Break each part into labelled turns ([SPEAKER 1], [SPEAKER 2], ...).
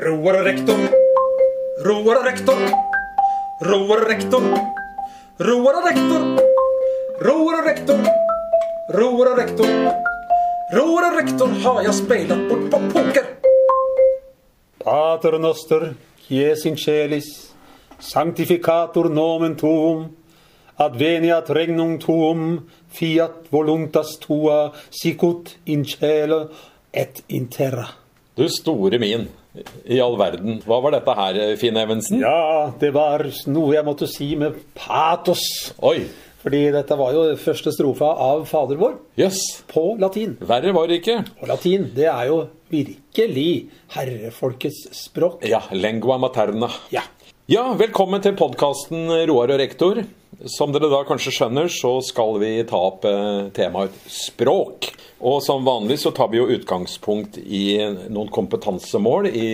[SPEAKER 1] Roar og rektor. Roar og rektor. Roar og rektor. Roar og rektor. Roar og rektor. Roar og rektor. Roar og rektor har jeg speilet bort på poker.
[SPEAKER 2] Pater noster, Jesu celis, sanctificator nomen tuum, adveniat regnum tuum, fiat voluntas tua, sicut in cielo et in terra.
[SPEAKER 3] Du store min. I all verden. Hva var dette her, Finn Evensen?
[SPEAKER 2] Ja, det var noe jeg måtte si med patos.
[SPEAKER 3] Oi.
[SPEAKER 2] Fordi dette var jo første strofa av Fader vår
[SPEAKER 3] Jøss.
[SPEAKER 2] på latin.
[SPEAKER 3] Verre var det ikke.
[SPEAKER 2] Og latin, det er jo virkelig herrefolkets språk.
[SPEAKER 3] Ja, lengua materna.
[SPEAKER 2] Ja.
[SPEAKER 3] Ja, velkommen til podkasten Roar og rektor. Som dere da kanskje skjønner, så skal vi ta opp eh, temaet språk. Og som vanlig så tar vi jo utgangspunkt i noen kompetansemål i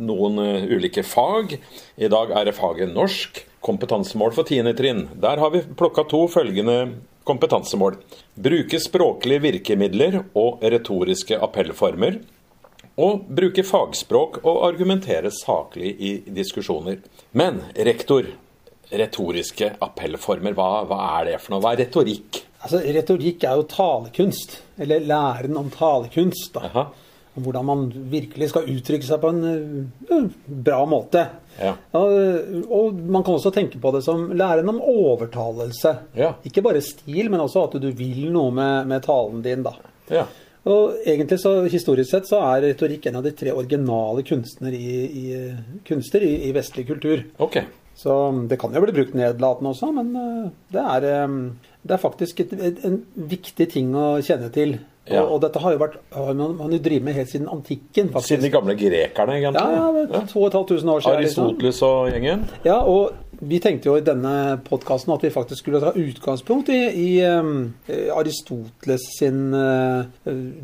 [SPEAKER 3] noen eh, ulike fag. I dag er det faget norsk. Kompetansemål for 10. trinn. Der har vi plukka to følgende kompetansemål. Bruke språklige virkemidler og retoriske appellformer og bruke fagspråk og argumentere saklig i diskusjoner. Men rektor, retoriske appellformer, hva, hva er det for noe? Hva er retorikk?
[SPEAKER 2] Altså, retorikk er jo talekunst, eller læren om talekunst. da.
[SPEAKER 3] Aha.
[SPEAKER 2] Om hvordan man virkelig skal uttrykke seg på en eh, bra måte.
[SPEAKER 3] Ja.
[SPEAKER 2] Og, og man kan også tenke på det som læren om overtalelse.
[SPEAKER 3] Ja.
[SPEAKER 2] Ikke bare stil, men også at du vil noe med, med talen din, da.
[SPEAKER 3] Ja.
[SPEAKER 2] Og egentlig så, Historisk sett så er retorikk en av de tre originale kunstner i, i, kunster i, i vestlig kultur.
[SPEAKER 3] Ok.
[SPEAKER 2] Så um, det kan jo bli brukt nedlatende også, men eh, det er, eh, det er faktisk et, et, en viktig ting å kjenne til. Og,
[SPEAKER 3] Ja.
[SPEAKER 2] og dette har jo vært, har man, man har jo drevet med helt siden antikken, faktisk.
[SPEAKER 3] Siden de gamle grekerne, egentlig.
[SPEAKER 2] ja, ja, det er 2500 år siden. liksom.
[SPEAKER 3] Aristoteles og gjengen.
[SPEAKER 2] Ja, og vi tenkte jo i denne podkasten at vi faktisk skulle ta utgangspunkt i, i eh, Aristoteles sin eh,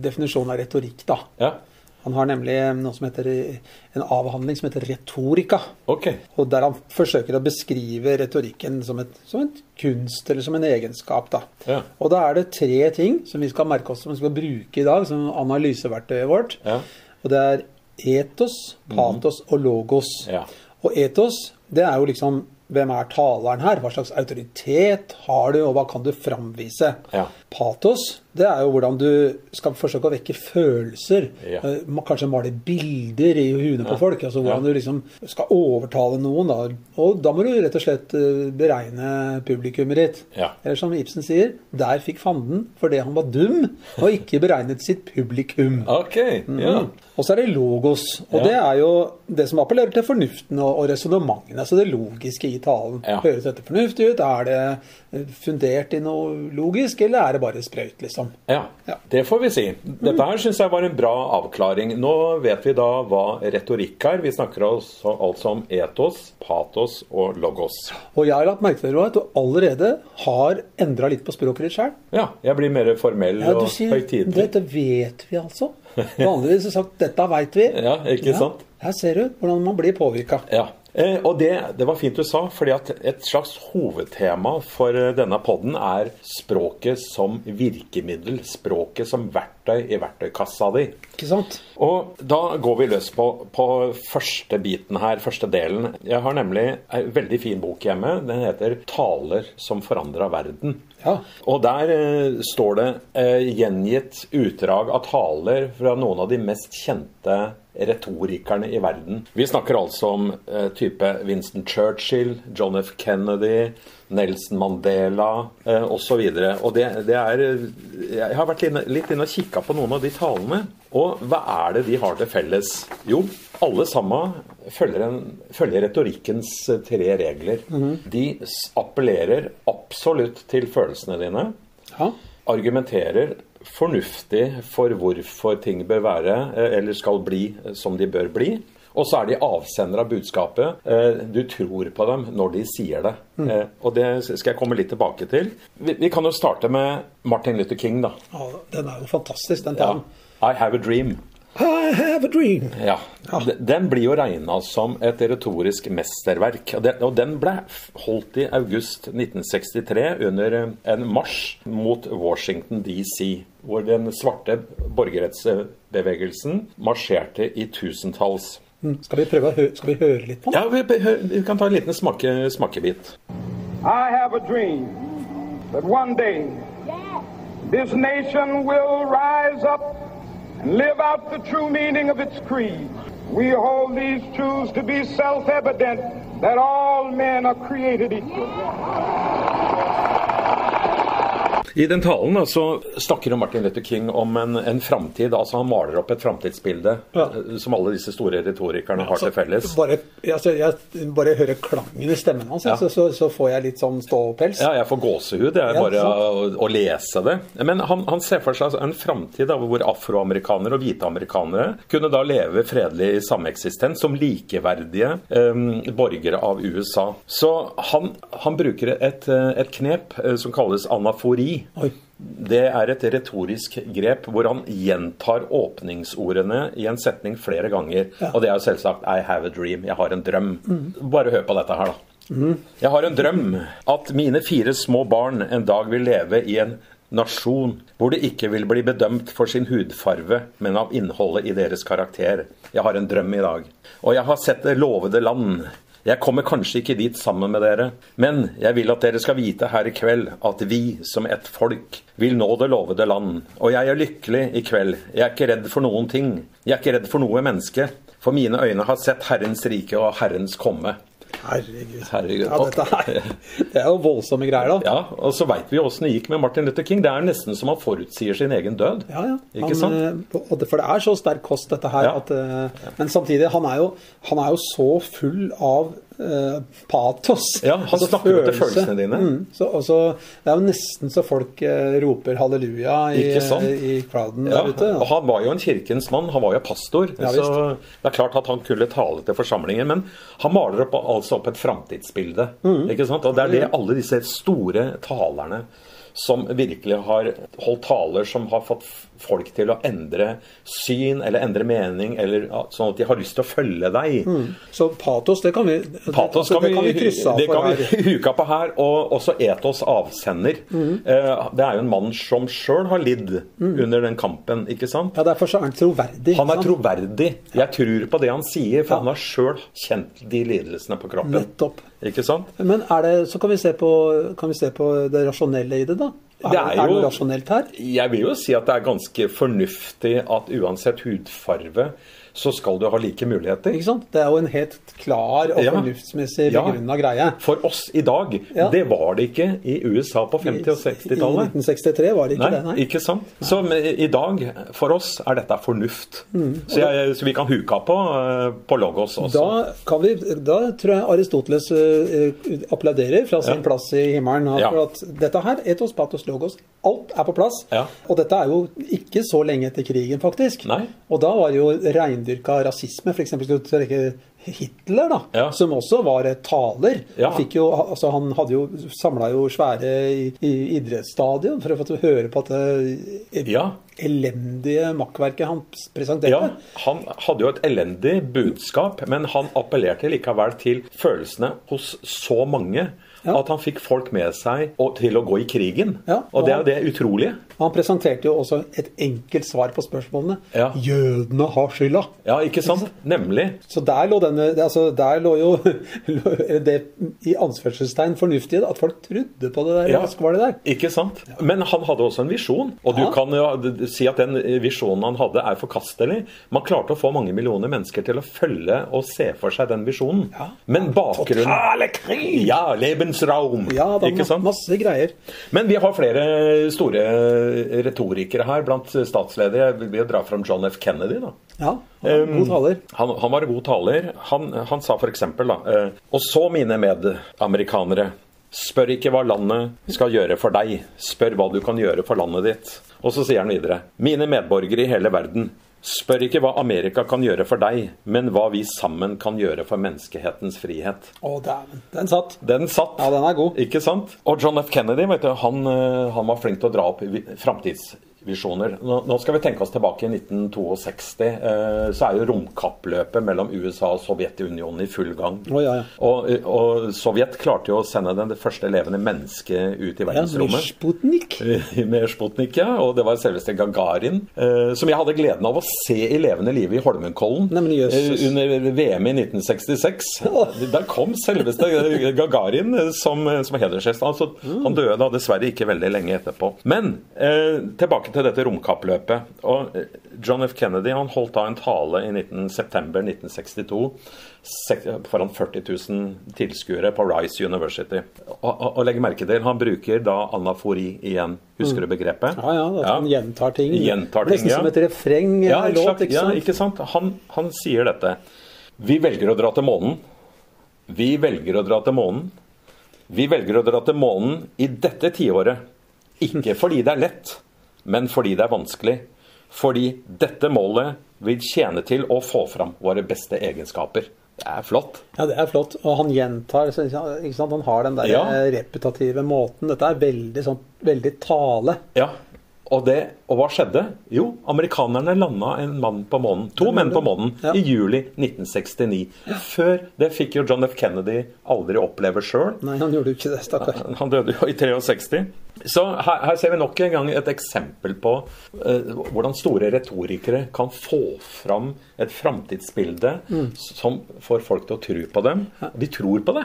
[SPEAKER 2] definisjon av retorikk, da.
[SPEAKER 3] Ja.
[SPEAKER 2] Han har nemlig um, noe som heter, uh, en avhandling som heter retorika.
[SPEAKER 3] Ok.
[SPEAKER 2] Og der han forsøker å beskrive retorikken som, et, som en kunst eller som en egenskap. Da.
[SPEAKER 3] Ja.
[SPEAKER 2] Og da er det tre ting som vi skal merke oss som vi skal bruke i dag som analyseverktøyet vårt.
[SPEAKER 3] Ja. Mhm.
[SPEAKER 2] Og det er etos, patos og logos.
[SPEAKER 3] Ja.
[SPEAKER 2] Og etos, det er jo liksom hvem er taleren her? Hva slags autoritet har du, og hva kan du framvise?
[SPEAKER 3] Ja.
[SPEAKER 2] Patos, det er jo hvordan du skal forsøke å vekke følelser.
[SPEAKER 3] Ja.
[SPEAKER 2] Eh, ma- Kanskje male bilder i huene på folk. altså Hvordan
[SPEAKER 3] Ja.
[SPEAKER 2] du liksom skal overtale noen. Da. Og da må du rett og slett eh, beregne publikummet ditt.
[SPEAKER 3] Ja.
[SPEAKER 2] Eller som Ibsen sier, der fikk fanden fordi han var dum og ikke beregnet sitt publikum. Mm.
[SPEAKER 3] Ok.
[SPEAKER 2] Mhm.
[SPEAKER 3] Ja.
[SPEAKER 2] Og så er det logos. Og
[SPEAKER 3] Ja.
[SPEAKER 2] det er jo det som appellerer til fornuften og, og resonnementene. Altså det logiske i talen.
[SPEAKER 3] Ja.
[SPEAKER 2] Høres dette fornuftig ut? Er det eh, fundert i noe logisk, eller er det bare sprøyt, liksom?
[SPEAKER 3] Ja,
[SPEAKER 2] Ja.
[SPEAKER 3] det får vi si. Dette her syns jeg var en bra avklaring. Nå vet vi da hva retorikk er. Vi snakker altså altså om etos, patos og logos.
[SPEAKER 2] Og jeg har lagt merke til Roar, at du allerede har endra litt på språket ditt sjøl.
[SPEAKER 3] Ja, jeg blir mer formell
[SPEAKER 2] Ja, du
[SPEAKER 3] og
[SPEAKER 2] sier
[SPEAKER 3] høytidelig.
[SPEAKER 2] 'dette vet vi', altså. Vanligvis har du sagt 'dette veit vi'.
[SPEAKER 3] Ja, ikke sant?
[SPEAKER 2] Her ser du hvordan man blir påvirka.
[SPEAKER 3] Ja. Eh, og det, det var fint du sa, fordi at et slags hovedtema for eh, denne podden er språket som virkemiddel. Språket som verktøy i verktøykassa di.
[SPEAKER 2] Ikke sant?
[SPEAKER 3] Og da går vi løs på, på første biten her, første delen. Jeg har nemlig ei veldig fin bok hjemme. Den heter 'Taler som forandra verden'.
[SPEAKER 2] Ja.
[SPEAKER 3] Og der eh, står det eh, gjengitt utdrag av taler fra noen av de mest kjente retorikerne i verden. Vi snakker altså om eh, type Winston Churchill, John F. Kennedy, Nelson Mandela eh, osv. Og det, det er eh, Jeg har vært inne, litt inne og kikka på noen av de talene. Og hva er det de har til felles? Jo, alle sammen følger, en, følger retorikkens eh, tre regler. De s- appellerer absolutt til følelsene dine
[SPEAKER 2] ja.
[SPEAKER 3] argumenterer fornuftig for hvorfor ting bør være eh, eller skal bli eh, som de bør bli. Og så er de avsender av budskapet. Eh, Du tror på dem når de sier det. Eh, Og det skal jeg komme litt tilbake til. Vi vi kan jo starte med Martin Luther King, da.
[SPEAKER 2] ja. Den er jo fantastisk, den
[SPEAKER 3] Ja.
[SPEAKER 2] talen.
[SPEAKER 3] I have a dream.
[SPEAKER 2] I have a dream.
[SPEAKER 3] Ja. D- Den blir jo regna som et retorisk mesterverk. Og den- Og den ble f- holdt i august 1963 under eh, en marsj mot Washington DC, hvor den svarte borgerrettsbevegelsen marsjerte i tusentalls.
[SPEAKER 2] Skal vi prøve å hø skal vi høre litt på den?
[SPEAKER 3] Ja, vi, vi kan ta en liten smake, smakebit.
[SPEAKER 4] I have a dream that one day this nation will rise up and live out the true meaning of its creed. We hold these truths to be self evident that all men are created equal.
[SPEAKER 3] I den talen da, så snakker jo Martin Luther King om en, en framtid. Altså han maler opp et framtidsbilde
[SPEAKER 2] Ja.
[SPEAKER 3] eh, som alle disse store retorikerne har til felles.
[SPEAKER 2] Bare, altså, jeg bare hører klangen i stemmen hans,
[SPEAKER 3] Ja.
[SPEAKER 2] så, så, så får jeg litt sånn ståpels.
[SPEAKER 3] Ja, jeg får gåsehud jeg,
[SPEAKER 2] Ja,
[SPEAKER 3] bare
[SPEAKER 2] sant.
[SPEAKER 3] å, å lese det. Men han, han ser for seg altså en framtid da, hvor afroamerikanere og hviteamerikanere kunne da leve fredelig i sameksistens som likeverdige eh, borgere av USA. Så han, han bruker et, eh, et knep eh, som kalles anafori.
[SPEAKER 2] Oi.
[SPEAKER 3] Det er et retorisk grep hvor han gjentar åpningsordene i en setning flere ganger. Og det er jo selvsagt 'I have a dream'. Jeg har en drøm. Bare hør på dette her, da. Jeg har en drøm at mine fire små barn en dag vil leve i en nasjon hvor de ikke vil bli bedømt for sin hudfarve, men av innholdet i deres karakter. Jeg har en drøm i dag. Og jeg har sett det lovede land. Jeg kommer kanskje ikke dit sammen med dere, men jeg vil at dere skal vite her i kveld at vi som et folk vil nå det lovede land. Og jeg er lykkelig i kveld. Jeg er ikke redd for noen ting. Jeg er ikke redd for noe menneske. For mine øyne har sett Herrens rike og Herrens komme.
[SPEAKER 2] Herregud.
[SPEAKER 3] Herregud.
[SPEAKER 2] Ja, dette er, det er jo voldsomme greier, da.
[SPEAKER 3] Ja, og så veit vi jo åssen det gikk med Martin Luther King. Det er nesten som han forutsier sin egen død.
[SPEAKER 2] Ja, ja.
[SPEAKER 3] Ikke sant?
[SPEAKER 2] eh, og det- For det er så sterk kost, dette her.
[SPEAKER 3] Ja.
[SPEAKER 2] At, eh, men samtidig, han er jo, han er jo så full av eh, patos. Altså
[SPEAKER 3] Ja, han snakker jo til følelsene dine.
[SPEAKER 2] Mm, så, og så- det er jo nesten så folk eh, roper halleluja i, eh,
[SPEAKER 3] Ikke sant?
[SPEAKER 2] i crowden
[SPEAKER 3] Ja,
[SPEAKER 2] der ute.
[SPEAKER 3] og han var jo en kirkens mann, han var jo pastor.
[SPEAKER 2] Ja,
[SPEAKER 3] så
[SPEAKER 2] visst.
[SPEAKER 3] det er klart at han kunne tale til forsamlingen. Men han maler opp, altså opp et framtidsbilde.
[SPEAKER 2] Mm.
[SPEAKER 3] Ikke sant? Og det er det alle disse store talerne som virkelig har holdt taler som har fått f- folk til å endre syn eller endre mening, eller ja, sånn at de har lyst til å følge deg.
[SPEAKER 2] Så patos, det kan vi,
[SPEAKER 3] Patos
[SPEAKER 2] det,
[SPEAKER 3] kan,
[SPEAKER 2] Mm. det, kan vi krysse av
[SPEAKER 3] det
[SPEAKER 2] for
[SPEAKER 3] kan
[SPEAKER 2] her. Mm.
[SPEAKER 3] vi huka på her, og også Etos avsender. Eh, Det er jo en mann som sjøl har lidd under den kampen, ikke sant?
[SPEAKER 2] Ja, Derfor så er han troverdig.
[SPEAKER 3] Han er
[SPEAKER 2] ikke sant?
[SPEAKER 3] troverdig. Jeg tror på det han sier, for
[SPEAKER 2] Ja.
[SPEAKER 3] han har sjøl kjent de lidelsene på kroppen.
[SPEAKER 2] Nettopp.
[SPEAKER 3] Ikke sant?
[SPEAKER 2] Men er det, så kan vi, se på, kan vi se på det rasjonelle i det, da. Er
[SPEAKER 3] Det
[SPEAKER 2] det,
[SPEAKER 3] er
[SPEAKER 2] er det
[SPEAKER 3] jo-
[SPEAKER 2] noe rasjonelt her?
[SPEAKER 3] Jeg vil jo si at det er ganske fornuftig at uansett hudfarve, så skal du ha like muligheter.
[SPEAKER 2] Ikke sant? Det er jo en helt klar og
[SPEAKER 3] Ja.
[SPEAKER 2] fornuftsmessig
[SPEAKER 3] Ja.
[SPEAKER 2] begrunna greie.
[SPEAKER 3] For oss i dag.
[SPEAKER 2] Ja.
[SPEAKER 3] Det var det ikke i USA på 50- og
[SPEAKER 2] I
[SPEAKER 3] 60-tallet.
[SPEAKER 2] 1963 var det ikke
[SPEAKER 3] Nei,
[SPEAKER 2] det, nei.
[SPEAKER 3] ikke sant? Så men i dag, for oss, er dette fornuft. Så, jeg, så vi kan huka på, eh, på Logos også.
[SPEAKER 2] Da, kan vi, da tror jeg Aristoteles eh, eh, applauderer fra sin
[SPEAKER 3] Ja.
[SPEAKER 2] plass i himmelen. han,
[SPEAKER 3] Ja.
[SPEAKER 2] For at dette her, etos, patos, logos, alt er på plass.
[SPEAKER 3] Ja.
[SPEAKER 2] Og dette er jo ikke så lenge etter krigen, faktisk.
[SPEAKER 3] Nei.
[SPEAKER 2] Og da var det jo reindyrka rasisme, f.eks. skulle du trekke Hitler, da,
[SPEAKER 3] Ja.
[SPEAKER 2] som også var eh, taler.
[SPEAKER 3] Ja.
[SPEAKER 2] Han Fikk jo, altså, han hadde jo samla jo svære i, i idrettsstadion for å få høre på at det
[SPEAKER 3] Ja.
[SPEAKER 2] elendige makkverket han presenterte.
[SPEAKER 3] Ja, Han hadde jo et elendig budskap, men han appellerte likevel til følelsene hos så mange
[SPEAKER 2] Ja.
[SPEAKER 3] at han fikk folk med seg og, til å gå i krigen.
[SPEAKER 2] Ja,
[SPEAKER 3] og det er
[SPEAKER 2] og-
[SPEAKER 3] jo det utrolige.
[SPEAKER 2] Han presenterte jo også et enkelt svar på spørsmålene.
[SPEAKER 3] Ja.
[SPEAKER 2] Jødene har skylda!
[SPEAKER 3] Ja, ikke sant? Nemlig.
[SPEAKER 2] Så der lå, denne, altså der lå jo lå- eller det i anførselstegn fornuftige, at folk trodde på det der
[SPEAKER 3] Ja.
[SPEAKER 2] raskvalet der.
[SPEAKER 3] Ikke sant? Men han hadde også en visjon. Og du
[SPEAKER 2] Ja.
[SPEAKER 3] kan jo d- d- si at den visjonen han hadde, er forkastelig. Man klarte å få mange millioner mennesker til å følge og se for seg den visjonen. Men bakgrunnen
[SPEAKER 2] Totale krig!
[SPEAKER 3] Ja, Lebensraum!
[SPEAKER 2] Ja, da,
[SPEAKER 3] ikke sant?
[SPEAKER 2] masse greier.
[SPEAKER 3] Men vi har flere store retorikere her blant statsledere. Jeg vil jo dra fram John F. Kennedy, da.
[SPEAKER 2] Ja, um, god taler.
[SPEAKER 3] Han, han var en god taler. Han, han sa f.eks. da eh, Og så, mine medamerikanere, spør ikke hva landet skal gjøre for deg, spør hva du kan gjøre for landet ditt. Og så sier han videre. Mine medborgere i hele verden, spør ikke hva Amerika kan gjøre for deg, men hva vi sammen kan gjøre for menneskehetens frihet.
[SPEAKER 2] Å, dæven. Den satt.
[SPEAKER 3] Den satt.
[SPEAKER 2] Ja, den er god.
[SPEAKER 3] Ikke sant? Og John F. Kennedy vet du, han, eh, han var flink til å dra opp vi- framtids visjoner. Nå, nå skal vi tenke oss tilbake i 1962. Eh, så er jo romkappløpet mellom USA og Sovjetunionen i full gang.
[SPEAKER 2] Å, ja, ja.
[SPEAKER 3] Og, og Sovjet klarte jo å sende den, det første levende mennesket ut i
[SPEAKER 2] Ja, med
[SPEAKER 3] verdensrommet.
[SPEAKER 2] Sputnik.
[SPEAKER 3] med Sputnik, ja. Og det var selveste Gagarin. Eh, som jeg hadde gleden av å se i levende live i Holmenkollen
[SPEAKER 2] Nei, men jøsses.
[SPEAKER 3] eh, under VM i 1966.
[SPEAKER 2] Åh.
[SPEAKER 3] Der kom selveste Gagarin eh, som, som hedersgjest. Altså,
[SPEAKER 2] Mm.
[SPEAKER 3] Han døde da dessverre ikke veldig lenge etterpå. Men eh, tilbake til dette romkappløpet. Og eh, John F. Kennedy han holdt da en tale i 19. september 1962 sek- foran 40 000 tilskuere på Rice University. Og, og, og legg merke til, han bruker da anafori igjen. Husker du begrepet?
[SPEAKER 2] Mm. Ja, ja, at han gjentar ting.
[SPEAKER 3] Gjentar ting,
[SPEAKER 2] Nesten
[SPEAKER 3] ja.
[SPEAKER 2] som et refreng i
[SPEAKER 3] Ja,
[SPEAKER 2] en
[SPEAKER 3] et
[SPEAKER 2] låt,
[SPEAKER 3] slags-
[SPEAKER 2] ikke sant?
[SPEAKER 3] Ja, ikke sant? Han, han sier dette. Vi velger å dra til månen. Vi velger å dra til månen. Vi velger å dra til månen i dette tiåret. Ikke fordi det er lett, men fordi det er vanskelig. Fordi dette målet vil tjene til å få fram våre beste egenskaper. Det er flott.
[SPEAKER 2] Ja, det er flott. Og han gjentar, så- ikke sant? han har den der
[SPEAKER 3] Ja.
[SPEAKER 2] eh, repetitive måten. Dette er veldig, sånn, veldig tale.
[SPEAKER 3] Ja. Og, det, og hva skjedde? Jo, amerikanerne landa en mann på månen. To menn på månen
[SPEAKER 2] Ja.
[SPEAKER 3] i juli 1969. Før det fikk jo John F. Kennedy aldri oppleve sjøl.
[SPEAKER 2] Nei, han gjorde jo ikke det, stakkar.
[SPEAKER 3] Han døde jo i 63. Så her, her ser vi nok en gang et eksempel på eh, hvordan store retorikere kan få fram et framtidsbilde
[SPEAKER 2] Mm.
[SPEAKER 3] som får folk til å tro på dem. De tror på det.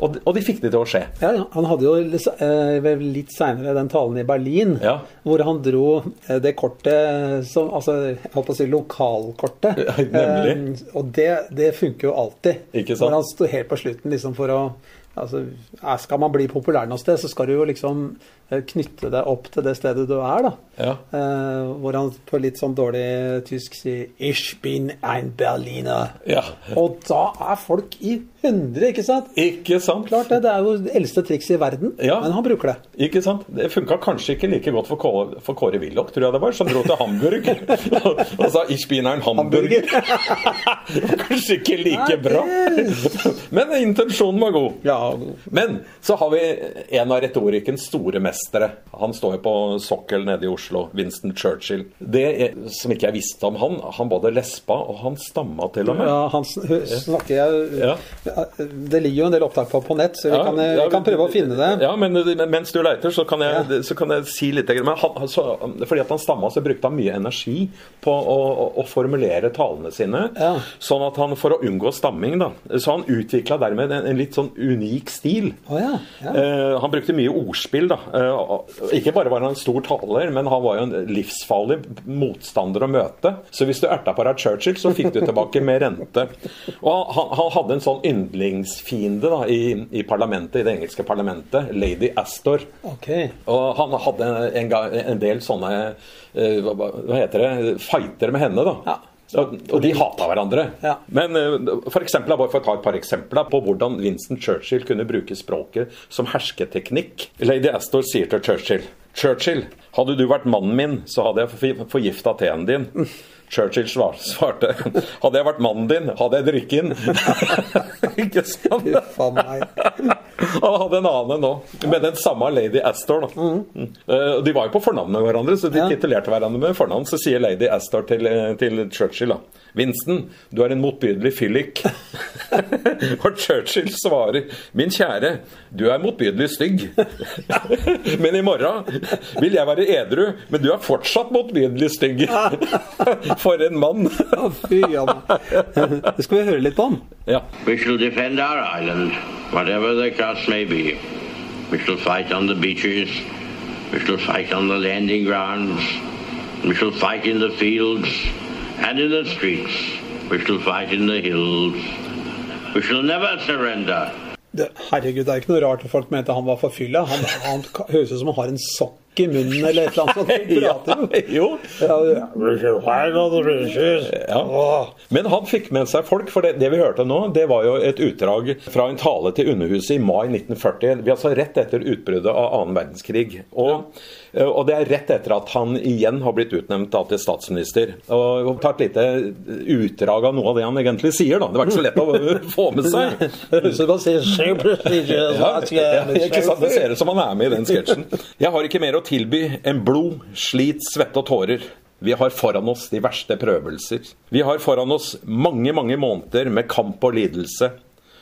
[SPEAKER 3] Og, de- og de fikk det til å skje.
[SPEAKER 2] Ja, ja. Han hadde jo litt- eh, vel litt seinere den talen i Berlin,
[SPEAKER 3] Ja.
[SPEAKER 2] hvor han dro eh, det kortet som Altså, jeg holdt på å si lokalkortet.
[SPEAKER 3] Ja, nemlig.
[SPEAKER 2] Eh, og det, det funker jo alltid.
[SPEAKER 3] Ikke
[SPEAKER 2] Når
[SPEAKER 3] sant?
[SPEAKER 2] han sto helt på slutten liksom for å Altså, eh, skal man bli populær noe sted, så skal du jo liksom eh, knytte deg opp til det stedet du er, da.
[SPEAKER 3] Ja.
[SPEAKER 2] Eh, hvor han på litt sånn dårlig tysk sier 'Ich bin ein Berliner'.
[SPEAKER 3] Ja.
[SPEAKER 2] Og da er folk i hundre, ikke sant?
[SPEAKER 3] Ikke sant?
[SPEAKER 2] Klart det, det er jo det eldste trikset i verden,
[SPEAKER 3] Ja.
[SPEAKER 2] men han bruker det.
[SPEAKER 3] Ikke sant? Det funka kanskje ikke like godt for Kåre, for Kåre Willoch, tror jeg det var, som dro til Hamburg og, og sa 'Ich bin ein Hamburger'. det var kanskje ikke
[SPEAKER 2] Nei,
[SPEAKER 3] like bra. Men intensjonen var god.
[SPEAKER 2] Ja,
[SPEAKER 3] Men så har vi en av retorikkens store mestere. Han står jo på sokkel nede i Oslo. Winston Churchill. Det er, som ikke jeg visste om han, han både lespa og han stamma til og med.
[SPEAKER 2] ja han sn- hø- snakker jeg
[SPEAKER 3] Ja.
[SPEAKER 2] Det ligger jo en del opptak på på nett, så vi,
[SPEAKER 3] Ja,
[SPEAKER 2] kan, eh,
[SPEAKER 3] ja,
[SPEAKER 2] vi kan prøve å finne det.
[SPEAKER 3] Ja, men men mens du leiter, så kan jeg, så kan jeg si litt Men han, så, fordi at han stamma, så brukte han mye energi på å, å, å formulere talene sine.
[SPEAKER 2] Ja.
[SPEAKER 3] Sånn at han, for å unngå stamming, da. Så han utvikla dermed en, en litt sånn unik stil.
[SPEAKER 2] Å ja, ja.
[SPEAKER 3] Eh, han brukte mye ordspill, da. Eh, og- ikke bare var han en stor taler, men han var jo en livsfarlig motstander å møte. Så hvis du erta på deg Churchill, så fikk du tilbake med rente. Og han, han hadde en sånn yndlingsfiende da, i, i parlamentet, i det engelske parlamentet, lady Astor.
[SPEAKER 2] Ok.
[SPEAKER 3] Og han hadde en, ga- en del sånne eh, hva, hva heter det fighter med henne, da.
[SPEAKER 2] Ja.
[SPEAKER 3] Og, og de hata hverandre.
[SPEAKER 2] Ja.
[SPEAKER 3] Men eh, for eksempel, da, bare for å ta et par eksempler da, på hvordan Winston Churchill kunne bruke språket som hersketeknikk. Lady Astor sier til Churchill Churchill, hadde du vært mannen min, så hadde jeg forgifta teen din. Churchill svar- svarte Hadde jeg vært mannen din, hadde jeg drukket den. Ikke sant?
[SPEAKER 2] Huff a meg.
[SPEAKER 3] Han hadde en annen nå, med den samme Lady Astor. da. Mm. Eh, og De var jo på fornavn med hverandre, så de
[SPEAKER 2] Ja.
[SPEAKER 3] titulerte hverandre med fornavn. Så sier Lady Astor til, eh, til Churchill da Winston, du er en motbydelig fyllik. og Churchill svarer Min kjære, du er motbydelig stygg. men i morgen vil jeg være edru, men du er fortsatt motbydelig stygg. For en mann.
[SPEAKER 2] Å, Fy a meg. Det skal vi høre litt om.
[SPEAKER 3] ja.
[SPEAKER 5] We shall defend our island, whatever the cost may be. We shall fight on the beaches. We shall fight on the landing grounds. We shall fight in the fields and in the streets. We shall fight in the hills. We shall never surrender.
[SPEAKER 2] Det, herregud, det er ikke noe rart at folk mente han var forfylla. Han, han ka- høres ut som han har en sokk i munnen eller et eller annet sånt. Han prater jo.
[SPEAKER 3] jo.
[SPEAKER 2] Ja,
[SPEAKER 3] Ja. Men han fikk med seg folk, for det, det vi hørte nå, det var jo et utdrag fra en tale til Underhuset i mai 1940. Vi er altså rett etter utbruddet av annen verdenskrig. Og, og det er rett etter at han igjen har blitt utnevnt da til statsminister. Og ta et lite utdrag av noe av det han egentlig sier, da. Det var ikke så lett å få med seg.
[SPEAKER 2] Det høres ut som han sier «So prestigious,
[SPEAKER 3] Ja,
[SPEAKER 2] that's
[SPEAKER 3] ja,
[SPEAKER 2] good,
[SPEAKER 3] ikke sant? Det ser ut som han er med i den sketsjen. Jeg har ikke mer å tilby en blod, slit, svette og tårer. Vi har foran oss de verste prøvelser. Vi har foran oss mange, mange måneder med kamp og lidelse.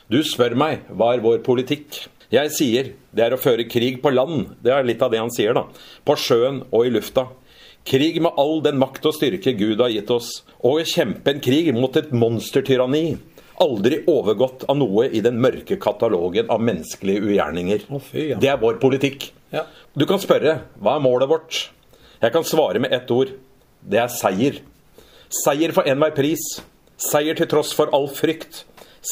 [SPEAKER 3] Du spør meg, hva er vår politikk? Jeg sier, det er å føre krig på land. Det er litt av det han sier, da. På sjøen og i lufta. Krig med all den makt og styrke Gud har gitt oss. Og å kjempe en krig mot et monstertyranni. Aldri overgått av noe i den mørke katalogen av menneskelige ugjerninger.
[SPEAKER 2] Å, fy, ja.
[SPEAKER 3] Det er vår politikk.
[SPEAKER 2] Ja.
[SPEAKER 3] Du kan spørre hva er målet vårt? Jeg kan svare med ett ord. Det er seier. Seier for enhver pris. Seier til tross for all frykt.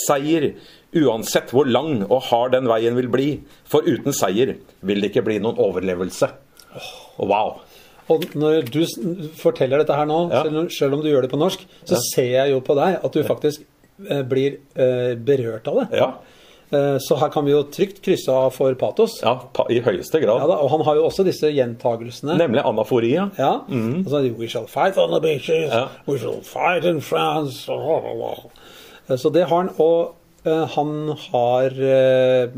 [SPEAKER 3] Seier uansett hvor lang og hard den veien vil bli. For uten seier vil det ikke bli noen overlevelse. Og wow.
[SPEAKER 2] Og når du s- forteller dette her nå,
[SPEAKER 3] Ja.
[SPEAKER 2] selv, om- selv om du gjør det på norsk, så ser jeg jo på deg at du faktisk eh, blir eh, berørt av det.
[SPEAKER 3] Ja,
[SPEAKER 2] Eh, så her kan vi jo trygt krysse av for patos.
[SPEAKER 3] ja pa- i høyeste
[SPEAKER 2] Ja
[SPEAKER 3] grad.
[SPEAKER 2] da, og han har jo også disse gjentagelsene.
[SPEAKER 3] Nemlig anaforia.
[SPEAKER 2] Ja. Altså, We shall fight on the beaches,
[SPEAKER 3] Ja.
[SPEAKER 2] we shall fight in France Eh, Så det har han. Og eh, han har eh,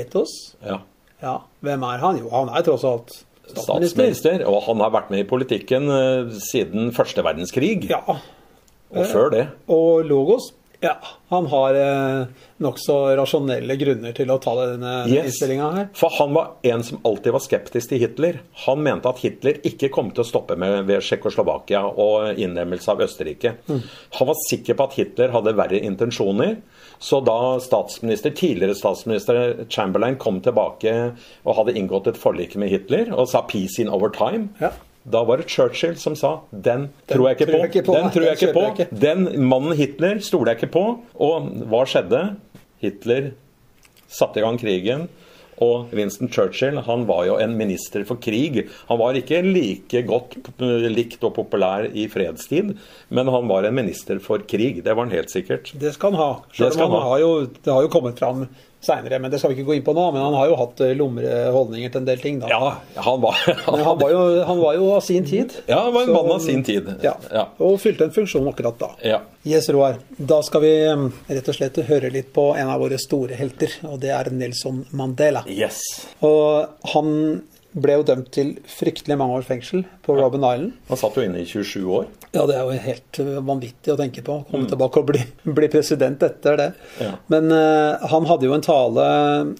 [SPEAKER 2] etos.
[SPEAKER 3] Ja.
[SPEAKER 2] Ja, hvem er han? Jo, han er tross alt statsminister.
[SPEAKER 3] Statsminister. Og han har vært med i politikken eh, siden første verdenskrig.
[SPEAKER 2] Ja,
[SPEAKER 3] Og før det.
[SPEAKER 2] Og Logos, ja, han har eh, nokså rasjonelle grunner til å ta denne yes.
[SPEAKER 3] Yes.
[SPEAKER 2] innstillinga her.
[SPEAKER 3] For han var en som alltid var skeptisk til Hitler. Han mente at Hitler ikke kom til å stoppe med ved Tsjekkoslovakia og innlemmelse av Østerrike.
[SPEAKER 2] Mm.
[SPEAKER 3] Han var sikker på at Hitler hadde verre intensjoner. Så da statsminister, tidligere statsminister Chamberlain kom tilbake og hadde inngått et forlik med Hitler og sa 'peace in over time',
[SPEAKER 2] Ja.
[SPEAKER 3] da var det Churchill som sa 'den tror jeg ikke
[SPEAKER 2] tror jeg ikke
[SPEAKER 3] på'.
[SPEAKER 2] på,
[SPEAKER 3] Den
[SPEAKER 2] nei,
[SPEAKER 3] tror jeg
[SPEAKER 2] den
[SPEAKER 3] ikke på.
[SPEAKER 2] kjøper jeg ikke.
[SPEAKER 3] Den mannen Hitler stoler jeg ikke på. Og hva skjedde? Hitler satte i gang krigen. Og Winston Churchill han var jo en minister for krig. Han var ikke like godt p- likt og populær i fredstid, men han var en minister for krig. Det var han helt sikkert.
[SPEAKER 2] Det skal han ha.
[SPEAKER 3] Det
[SPEAKER 2] Selv
[SPEAKER 3] skal
[SPEAKER 2] om han
[SPEAKER 3] han ha.
[SPEAKER 2] har jo, det har jo kommet fram seinere, men det skal vi ikke gå inn på nå. Men han har jo hatt eh, lumre holdninger til en del ting, da.
[SPEAKER 3] Ja, han var,
[SPEAKER 2] Men han var, jo, han var jo av sin tid.
[SPEAKER 3] ja, han var en
[SPEAKER 2] Så-
[SPEAKER 3] mann av sin tid.
[SPEAKER 2] Ja.
[SPEAKER 3] Ja.
[SPEAKER 2] Og fylte en funksjon akkurat da.
[SPEAKER 3] Ja.
[SPEAKER 2] Yes, Roar. Da skal vi eh, rett og slett høre litt på en av våre store helter, og det er Nelson Mandela.
[SPEAKER 3] Yes.
[SPEAKER 2] Og han ble jo dømt til fryktelig mange års fengsel på Robben Island.
[SPEAKER 3] Han satt jo inne i 27 år.
[SPEAKER 2] Ja, det er jo helt eh, vanvittig å tenke på. Komme tilbake og bli, bli president etter det.
[SPEAKER 3] Ja.
[SPEAKER 2] Men eh, han hadde jo en tale,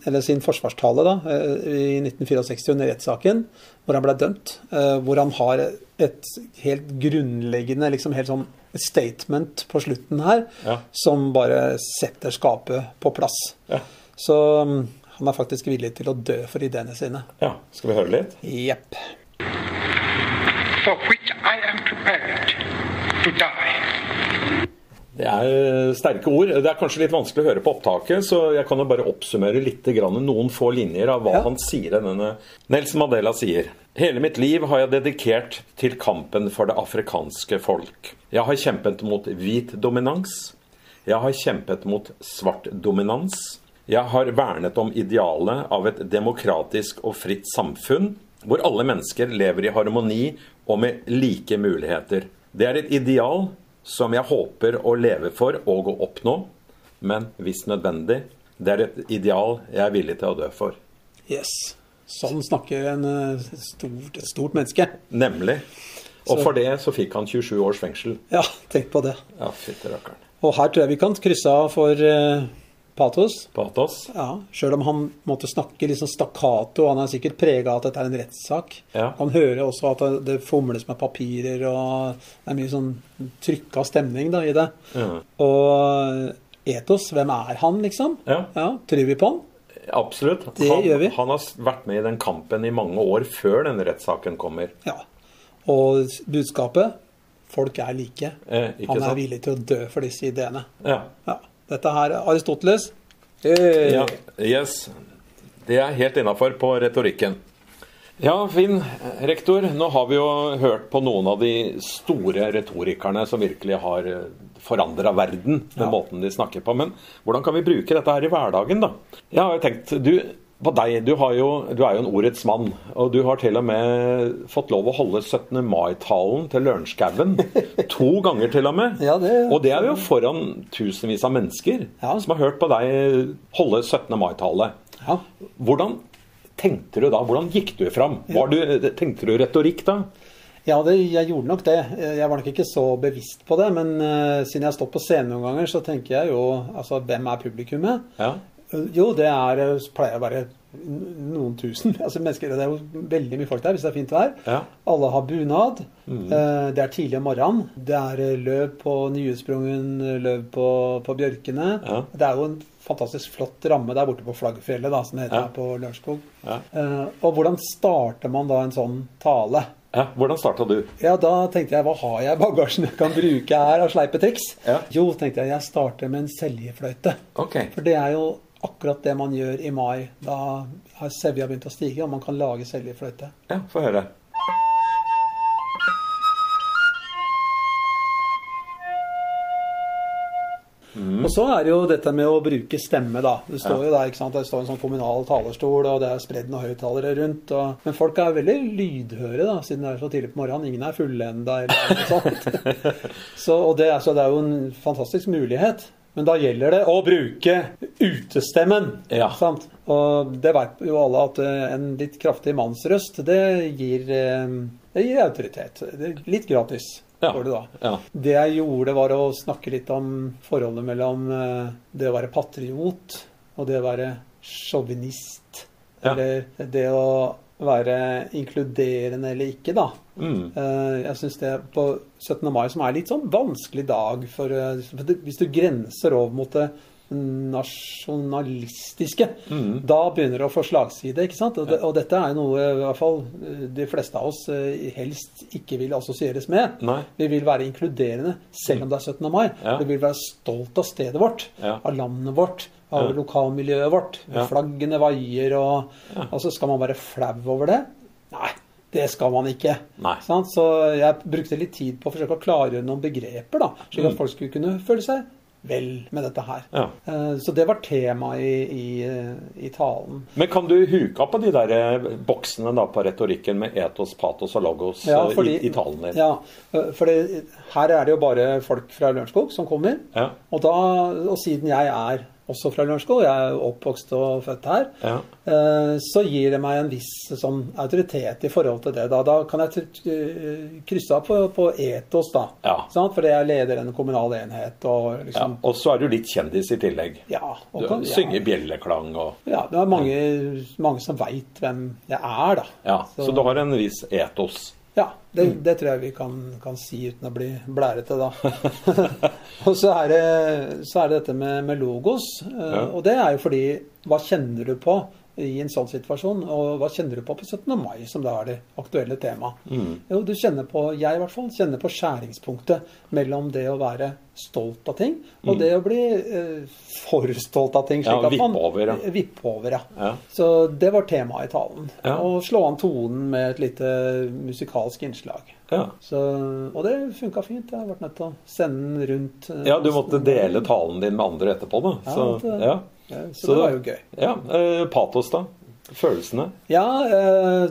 [SPEAKER 2] eller sin forsvarstale, da, eh, i 1964 under rettssaken, hvor han ble dømt. eh, hvor han har et helt grunnleggende, liksom helt sånn statement på slutten her,
[SPEAKER 3] Ja.
[SPEAKER 2] som bare setter skapet på plass.
[SPEAKER 3] Ja.
[SPEAKER 2] Så mm, han er faktisk villig til å dø for ideene sine.
[SPEAKER 3] Ja, Skal vi høre litt?
[SPEAKER 2] Jepp.
[SPEAKER 6] for which I am prepared to die.
[SPEAKER 3] Det er eh, sterke ord. Det er kanskje litt vanskelig å høre på opptaket, så jeg kan jo bare oppsummere litt, grann, noen få linjer av hva
[SPEAKER 2] Ja.
[SPEAKER 3] han sier. Denne. Nelson Mandela sier Hele mitt liv har jeg dedikert til kampen for det afrikanske folk. Jeg har kjempet mot hvit dominans. Jeg har kjempet mot svart dominans. Jeg har vernet om idealet av et demokratisk og fritt samfunn, hvor alle mennesker lever i harmoni og med like muligheter. Det er et ideal som jeg håper å leve for og å oppnå, men hvis nødvendig, det er et ideal jeg er villig til å dø for.
[SPEAKER 2] Yes. Sånn snakker en eh, stort, et stort menneske.
[SPEAKER 3] Nemlig. Og for det så fikk han 27 års fengsel.
[SPEAKER 2] Ja, tenk på det.
[SPEAKER 3] Ja, fytti rakkeren.
[SPEAKER 2] Og her tror jeg vi kan krysse av for eh, patos.
[SPEAKER 3] Patos.
[SPEAKER 2] Ja, Sjøl om han måtte snakke liksom stakkato, han er sikkert prega av at dette er en rettssak.
[SPEAKER 3] Ja.
[SPEAKER 2] Han hører også at det- det fomles med papirer, og det er mye sånn trykka stemning da i det.
[SPEAKER 3] Mhm.
[SPEAKER 2] Og eh, Etos, hvem er han, liksom?
[SPEAKER 3] Ja.
[SPEAKER 2] Tror vi på han?
[SPEAKER 3] Absolutt.
[SPEAKER 2] Det
[SPEAKER 3] han,
[SPEAKER 2] gjør vi.
[SPEAKER 3] han har vært med i den kampen i mange år før denne rettssaken kommer.
[SPEAKER 2] Ja. Og budskapet? Folk er like.
[SPEAKER 3] Eh, ikke
[SPEAKER 2] han er
[SPEAKER 3] sant?
[SPEAKER 2] villig til å dø for disse ideene.
[SPEAKER 3] Ja.
[SPEAKER 2] Ja. Dette her er Aristoteles. Hey.
[SPEAKER 3] ja. Eh, Yes. Det er helt innafor på retorikken. Ja, Finn, rektor, nå har vi jo hørt på noen av de store retorikerne som virkelig har forandra verden, den måten de snakker på. Men hvordan kan vi bruke dette her i hverdagen, da? Jeg har jo tenkt du, på deg, du, har jo, du er jo en ordets mann. Og du har til og med fått lov å holde 17. mai-talen til Lørenskauen. To ganger til og med.
[SPEAKER 2] Ja, det-
[SPEAKER 3] Og det er jo foran tusenvis av mennesker
[SPEAKER 2] Ja.
[SPEAKER 3] som har hørt på deg holde 17. mai-tallet.
[SPEAKER 2] Ja.
[SPEAKER 3] Hvordan tenkte du da? Hvordan gikk du fram? Var du, tenkte du retorikk da?
[SPEAKER 2] Ja, det, jeg gjorde nok det. Eh, Jeg var nok ikke så bevisst på det. Men eh, siden jeg har stått på scenen noen ganger, så tenker jeg jo altså, hvem er publikummet?
[SPEAKER 3] Ja.
[SPEAKER 2] Eh, Jo, det er, eh, pleier å være n- noen tusen. Altså, mennesker, det er jo veldig mye folk der hvis det er fint vær.
[SPEAKER 3] Ja. Mm.
[SPEAKER 2] Alle har bunad. Eh, Det er tidlig om morgenen. Det er eh, løv på Nyutsprungen, løv på, på Bjørkene.
[SPEAKER 3] Ja.
[SPEAKER 2] Det er jo en fantastisk flott ramme der borte på Flaggfjellet, da, som det heter
[SPEAKER 3] Ja.
[SPEAKER 2] her på Lørenskog.
[SPEAKER 3] Ja.
[SPEAKER 2] Eh, Og hvordan starter man da en sånn tale?
[SPEAKER 3] ja. Hvordan starta du?
[SPEAKER 2] Ja, da tenkte jeg, hva har jeg i bagasjen jeg kan bruke her av sleipe triks?
[SPEAKER 3] Ja.
[SPEAKER 2] Jo, tenkte jeg, jeg starter med en seljefløyte.
[SPEAKER 3] Ok.
[SPEAKER 2] For det er jo akkurat det man gjør i mai. Da har sevja begynt å stige, og man kan lage seljefløyte.
[SPEAKER 3] Ja, få høre.
[SPEAKER 2] Og så er det jo dette med å bruke stemme, da. Det står jo der, ikke sant? Det står en sånn kommunal talerstol, og det er spredd noen høyttalere rundt. Og... Men folk er veldig lydhøre, da, siden det er så tidlig på morgenen. Ingen er fulle ennå, eller noe sånt. Så, og det, er- så det er jo en fantastisk mulighet. Men da gjelder det å bruke utestemmen.
[SPEAKER 3] Ja.
[SPEAKER 2] Sant? Og det vet jo alle at eh, en litt kraftig mannsrøst, det gir, eh, det gir autoritet. Det er litt gratis
[SPEAKER 3] Ja.
[SPEAKER 2] får du da.
[SPEAKER 3] Ja.
[SPEAKER 2] Det jeg gjorde, var å snakke litt om forholdet mellom eh, det å være patriot og det å være sjåvinist.
[SPEAKER 3] Ja.
[SPEAKER 2] Eller det å være inkluderende eller ikke, da.
[SPEAKER 3] Mm.
[SPEAKER 2] Eh, Jeg syns det på 17. mai, som er litt sånn vanskelig dag for eh, for det- Hvis du grenser over mot det nasjonalistiske,
[SPEAKER 3] Mm.
[SPEAKER 2] da begynner det å få slagside. ikke sant? Og, det, og dette er jo noe i hvert fall eh, de fleste av oss eh, helst ikke vil assosieres med.
[SPEAKER 3] Nei.
[SPEAKER 2] Vi vil være inkluderende selv om det er 17. mai.
[SPEAKER 3] Ja.
[SPEAKER 2] Vi vil være stolt av stedet vårt,
[SPEAKER 3] Ja.
[SPEAKER 2] av landet vårt, av
[SPEAKER 3] Ja.
[SPEAKER 2] lokalmiljøet vårt.
[SPEAKER 3] Ja.
[SPEAKER 2] Flaggene vaier og Altså, skal man være flau over det? Nei, det skal man ikke.
[SPEAKER 3] Nei.
[SPEAKER 2] Sant? Så jeg brukte litt tid på å forsøke å klargjøre noen begreper, da, slik at folk skulle kunne føle seg vel med dette her.
[SPEAKER 3] Mm. Ja.
[SPEAKER 2] Eh, Så det var temaet i, i, eh, i talen.
[SPEAKER 3] Men kan du huke på de der eh, boksene da på retorikken med etos, patos og logos
[SPEAKER 2] Ja,
[SPEAKER 3] eh,
[SPEAKER 2] fordi-
[SPEAKER 3] i, i talen din?
[SPEAKER 2] Ja, for det, her er det jo bare folk fra Lørenskog som kommer.
[SPEAKER 3] Ja.
[SPEAKER 2] Og, da, og siden jeg er også fra Lørenskog, jeg er jo oppvokst og født her,
[SPEAKER 3] Ja.
[SPEAKER 2] eh, så gir det meg en viss sånn, autoritet i forhold til det. Da, da kan jeg tr- eh, krysse av på, på etos, da.
[SPEAKER 3] Ja.
[SPEAKER 2] Sant? Fordi jeg leder en kommunal enhet og
[SPEAKER 3] Ja,
[SPEAKER 2] liksom
[SPEAKER 3] Og så er du litt kjendis i tillegg.
[SPEAKER 2] Ja. og
[SPEAKER 3] Du
[SPEAKER 2] kan- ja.
[SPEAKER 3] synger bjelleklang og
[SPEAKER 2] Ja, det er mange, mange som veit hvem jeg er, da.
[SPEAKER 3] Ja, så, du har en viss etos.
[SPEAKER 2] Ja, det,
[SPEAKER 3] Mm.
[SPEAKER 2] det tror jeg vi kan, kan si uten å bli blærete, da. og så er, det, så er det dette med, med logos. eh, Og det er jo fordi Hva kjenner du på i en sånn situasjon? Og hva kjenner du på på 17. mai, som da er det aktuelle temaet?
[SPEAKER 3] Mm.
[SPEAKER 2] Jo, du kjenner på, jeg i hvert fall, kjenner på skjæringspunktet mellom det å være stolt av ting, og det å bli eh, for stolt av ting.
[SPEAKER 3] Mm. Ja,
[SPEAKER 2] slik at man-
[SPEAKER 3] vippe over, ja.
[SPEAKER 2] Vippe over, ja.
[SPEAKER 3] Ja.
[SPEAKER 2] Så det var temaet i talen.
[SPEAKER 3] Ja.
[SPEAKER 2] Og slå an tonen med et lite musikalsk innslag.
[SPEAKER 3] Ja.
[SPEAKER 2] Så, og det funka fint. Jeg har vært nødt til å sende den rundt. eh,
[SPEAKER 3] Ja, du måtte dele talen din med andre etterpå, da.
[SPEAKER 2] Ja,
[SPEAKER 3] Så,
[SPEAKER 2] det-
[SPEAKER 3] ja.
[SPEAKER 2] ja, så det var jo gøy.
[SPEAKER 3] Ja, eh, Patos, da? Følelsene?
[SPEAKER 2] Ja, eh,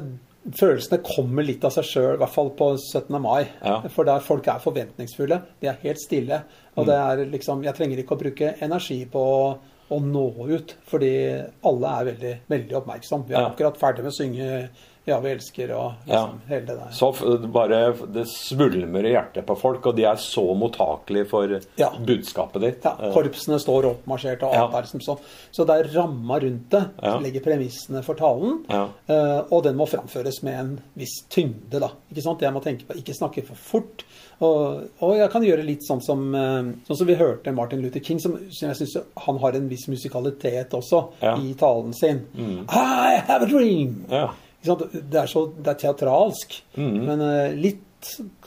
[SPEAKER 2] følelsene kommer litt av seg sjøl, i hvert fall på 17. mai.
[SPEAKER 3] Ja.
[SPEAKER 2] For der folk er forventningsfulle. De er helt stille.
[SPEAKER 3] Mm.
[SPEAKER 2] Og det er liksom Jeg trenger ikke å bruke energi på å, å nå ut, fordi alle er veldig, veldig oppmerksom. Vi er
[SPEAKER 3] Ja.
[SPEAKER 2] akkurat ferdig med å synge 'Ja, vi elsker' og liksom, hele det der.
[SPEAKER 3] Så f- bare f- det svulmer i hjertet på folk, og de er så mottakelige for
[SPEAKER 2] Ja.
[SPEAKER 3] budskapet ditt. Eh,
[SPEAKER 2] Ja, korpsene står oppmarsjert og alt
[SPEAKER 3] Ja.
[SPEAKER 2] der. Som så. så det er ramma rundt det
[SPEAKER 3] Ja.
[SPEAKER 2] som legger premissene for talen.
[SPEAKER 3] Ja.
[SPEAKER 2] eh, Og den må framføres med en viss tyngde, da. Ikke sant? Jeg må tenke på ikke snakke for fort. Og, og jeg kan gjøre litt sånn som, eh, sånn som vi hørte Martin Luther King, som, som jeg syns han har en viss musikalitet også
[SPEAKER 3] Ja. Mm.
[SPEAKER 2] i talen sin. I have a dream!
[SPEAKER 3] Ja.
[SPEAKER 2] Ikke sant? Det er, så, det er teatralsk,
[SPEAKER 3] Mhm.
[SPEAKER 2] men eh, litt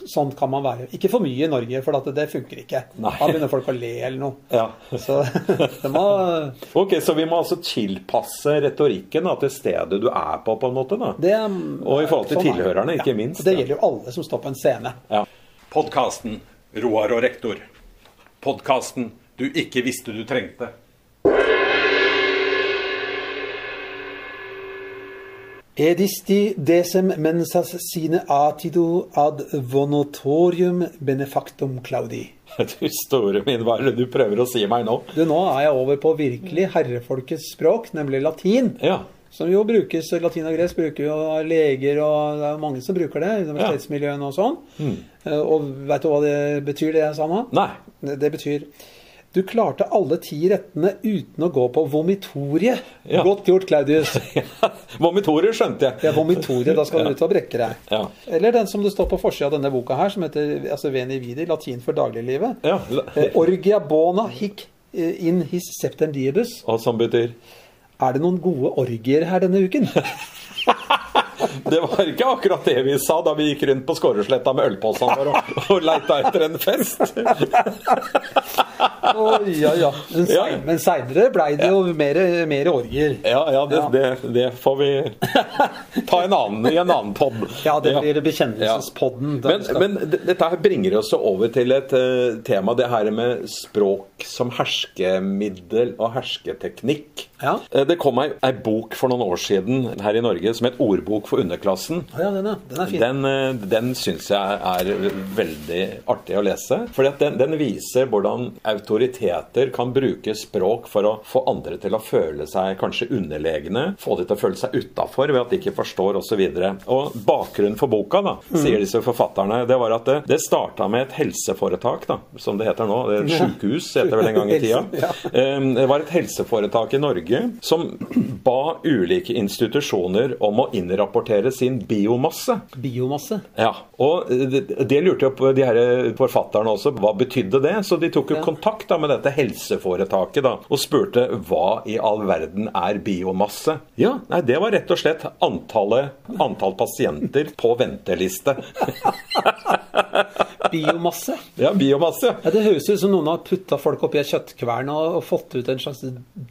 [SPEAKER 2] sånn kan man være. Ikke for mye i Norge, for at det funker ikke.
[SPEAKER 3] Nei.
[SPEAKER 2] Da begynner folk å le eller noe.
[SPEAKER 3] Ja.
[SPEAKER 2] Så det må
[SPEAKER 3] Ok, så vi må altså tilpasse retorikken da, til stedet du er på, på en måte? da.
[SPEAKER 2] det,
[SPEAKER 3] Og i forhold til
[SPEAKER 2] sånn er det.
[SPEAKER 3] tilhørerne, ikke minst,
[SPEAKER 2] Det
[SPEAKER 3] ja.
[SPEAKER 2] gjelder jo alle som står på en scene.
[SPEAKER 3] Ja.
[SPEAKER 7] Podkasten Roar og rektor. Podkasten du ikke visste du trengte.
[SPEAKER 2] Edisti decem mensas sine atido ad vonotorium benefactum claudi.
[SPEAKER 3] Du store min, hva er det du prøver å si meg nå?
[SPEAKER 2] Du, nå er jeg over på virkelig herrefolkets språk, nemlig latin.
[SPEAKER 3] Ja.
[SPEAKER 2] Som jo brukes, latin og gresk bruker jo av leger, og det er jo mange som bruker det. Universitetsmiljøene og sånn. Eh, Og veit du hva det betyr, det jeg sa nå?
[SPEAKER 3] Nei.
[SPEAKER 2] Det det betyr du klarte alle ti rettene uten å gå på vomitoriet.
[SPEAKER 3] Ja.
[SPEAKER 2] Godt gjort, Claudius.
[SPEAKER 3] Vomitorer skjønte
[SPEAKER 2] Det er
[SPEAKER 3] jeg.
[SPEAKER 2] vomitoriet, da skal du ut og brekke deg.
[SPEAKER 3] Ja.
[SPEAKER 2] Eller den som det står på forsida av denne boka her, som heter altså, Veni Vidi, latin for dagliglivet.
[SPEAKER 3] Ja, la-
[SPEAKER 2] Eh, Orgia bona hic eh, in his septem diebus.
[SPEAKER 3] Og som betyr
[SPEAKER 2] Er det noen gode orgier her denne uken?
[SPEAKER 3] Det var ikke akkurat det vi sa da vi gikk rundt på Skåresletta med ølposene våre og, og leita etter en fest.
[SPEAKER 2] Å, ja, ja. Men,
[SPEAKER 3] Ja.
[SPEAKER 2] sein, men seinere blei det jo mer, mer orgier.
[SPEAKER 3] Ja, ja, det,
[SPEAKER 2] Ja.
[SPEAKER 3] Det, det får vi ta en annen, i en annen pod.
[SPEAKER 2] Ja, det blir bekjennelsespodden.
[SPEAKER 3] Men, men d- dette her bringer oss jo over til et eh, tema, det her med språk som herskemiddel og hersketeknikk.
[SPEAKER 2] Ja.
[SPEAKER 3] Eh, det kom ei, ei bok for noen år siden her i Norge som het 'Ordbok for underklassen'.
[SPEAKER 2] Å ja, den er, den er fin.
[SPEAKER 3] Den, eh, den syns jeg er veldig artig å lese. For den, den viser hvordan autoriteter kan bruke språk for å få andre til å føle seg kanskje underlegne. Få de til å føle seg utafor ved at de ikke forstår osv. Bakgrunnen for boka, da,
[SPEAKER 2] Mm.
[SPEAKER 3] sier disse forfatterne, det var at det, det starta med et helseforetak, da, som det heter nå. Det er et sjukehus, heter det vel en gang i tida.
[SPEAKER 2] Ja.
[SPEAKER 3] Um, Det var et helseforetak i Norge som ba ulike institusjoner om å innrapportere sin biomasse.
[SPEAKER 2] Biomasse.
[SPEAKER 3] Ja, og eh, det det lurte jo på de her eh, forfatterne også, hva betydde det? Så de tok jo
[SPEAKER 2] Ja.
[SPEAKER 3] kontakt da med dette helseforetaket da, og spurte hva i all verden er biomasse? Ja, nei, det var rett og slett antallet, antall pasienter på venteliste.
[SPEAKER 2] Biomasse.
[SPEAKER 3] Ja, biomasse.
[SPEAKER 2] Ja, det høres ut som noen har putta folk oppi ei kjøttkvern og og fått ut en slags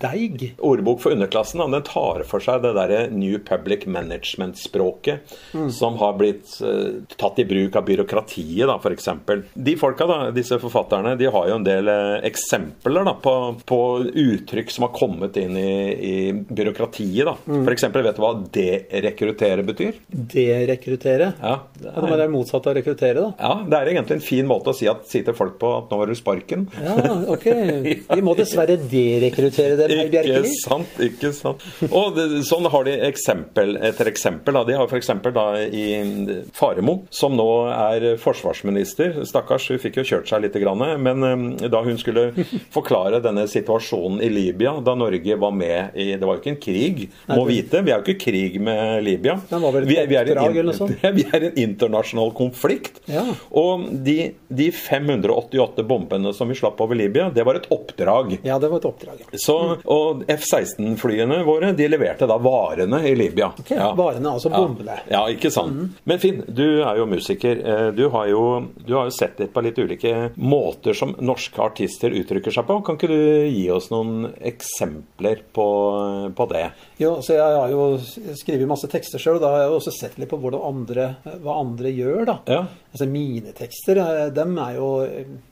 [SPEAKER 2] deig.
[SPEAKER 3] Ordbok for underklassen da, den tar for seg det derre New Public Management-språket som har blitt eh, tatt i bruk av byråkratiet, da, f.eks. De folka, da, disse forfatterne, de har jo en del eh, eksempler da, på, på uttrykk som har kommet inn i, i byråkratiet. da. For F.eks. vet du hva derekruttere betyr?
[SPEAKER 2] Derekruttere.
[SPEAKER 3] Ja, det
[SPEAKER 2] Det må
[SPEAKER 3] er,
[SPEAKER 2] være motsatt av å rekruttere, da.
[SPEAKER 3] ja, det er egentlig en fin måte å si, at, si til folk på at nå har du sparken.
[SPEAKER 2] Ja, ok. Vi må dessverre derekruttere dere, Herr
[SPEAKER 3] Ikke
[SPEAKER 2] Bjerkeli.
[SPEAKER 3] sant, ikke sant. Og det, sånn har de eksempel etter eksempel. Da. De har f.eks. i Faremo, som nå er forsvarsminister. Stakkars, hun fikk jo kjørt seg litt. Grann, men eh, da hun skulle forklare denne situasjonen i Libya, da Norge var med i Det var jo ikke en krig, må vite. Vi er jo ikke i krig med Libya.
[SPEAKER 2] Den var vel et
[SPEAKER 3] Vi er- vi er i en
[SPEAKER 2] oppdrag
[SPEAKER 3] in-
[SPEAKER 2] eller noe sånt?
[SPEAKER 3] vi er i en internasjonal konflikt.
[SPEAKER 2] Ja.
[SPEAKER 3] Og de, de 588 bombene som vi slapp over Libya, det var et oppdrag.
[SPEAKER 2] Ja, det var et oppdrag. ja.
[SPEAKER 3] Så, og F-16-flyene våre de leverte da varene i Libya.
[SPEAKER 2] varene, altså Mm. bombene.
[SPEAKER 3] Ja, ja ikke sant. Men Finn, du er jo musiker. Eh, Du har jo, du har jo sett litt på litt ulike måter som norske artister uttrykker seg på. Kan ikke du gi oss noen eksempler på, på det?
[SPEAKER 2] Jo, så jeg har jo skrevet masse tekster sjøl, og da har jeg jo også sett litt på hvordan andre, hva andre gjør, da.
[SPEAKER 3] Ja.
[SPEAKER 2] Altså mine tekster, eh, dem er jo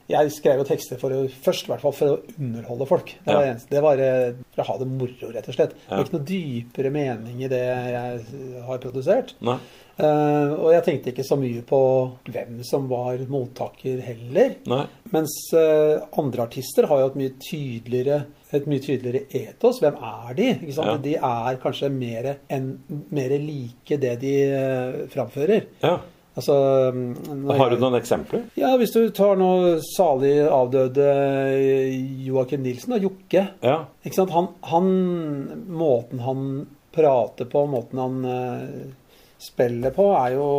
[SPEAKER 2] Jeg skrev jo tekster for å, først i hvert fall for å underholde folk. Det var,
[SPEAKER 3] Ja.
[SPEAKER 2] eneste- det var eh, for å ha det moro, rett og slett. Det var ikke noe dypere mening i det jeg har produsert.
[SPEAKER 3] Nei.
[SPEAKER 2] Eh, og jeg tenkte ikke så mye på hvem som var mottaker heller.
[SPEAKER 3] Nei.
[SPEAKER 2] Mens eh, andre artister har jo et mye tydeligere et mye tydeligere etos. Hvem er de? Ikke sant?
[SPEAKER 3] Ja.
[SPEAKER 2] De er kanskje mer, enn, mer like det de eh, framfører.
[SPEAKER 3] Ja.
[SPEAKER 2] Altså, mm, når
[SPEAKER 3] Har du
[SPEAKER 2] jeg-
[SPEAKER 3] noen eksempler?
[SPEAKER 2] Ja, Hvis du tar nå salig avdøde Joakim Nilsen, da, Jokke.
[SPEAKER 3] Ja.
[SPEAKER 2] Ikke sant? Han, han, måten han prater på, måten han eh, spiller på, er jo,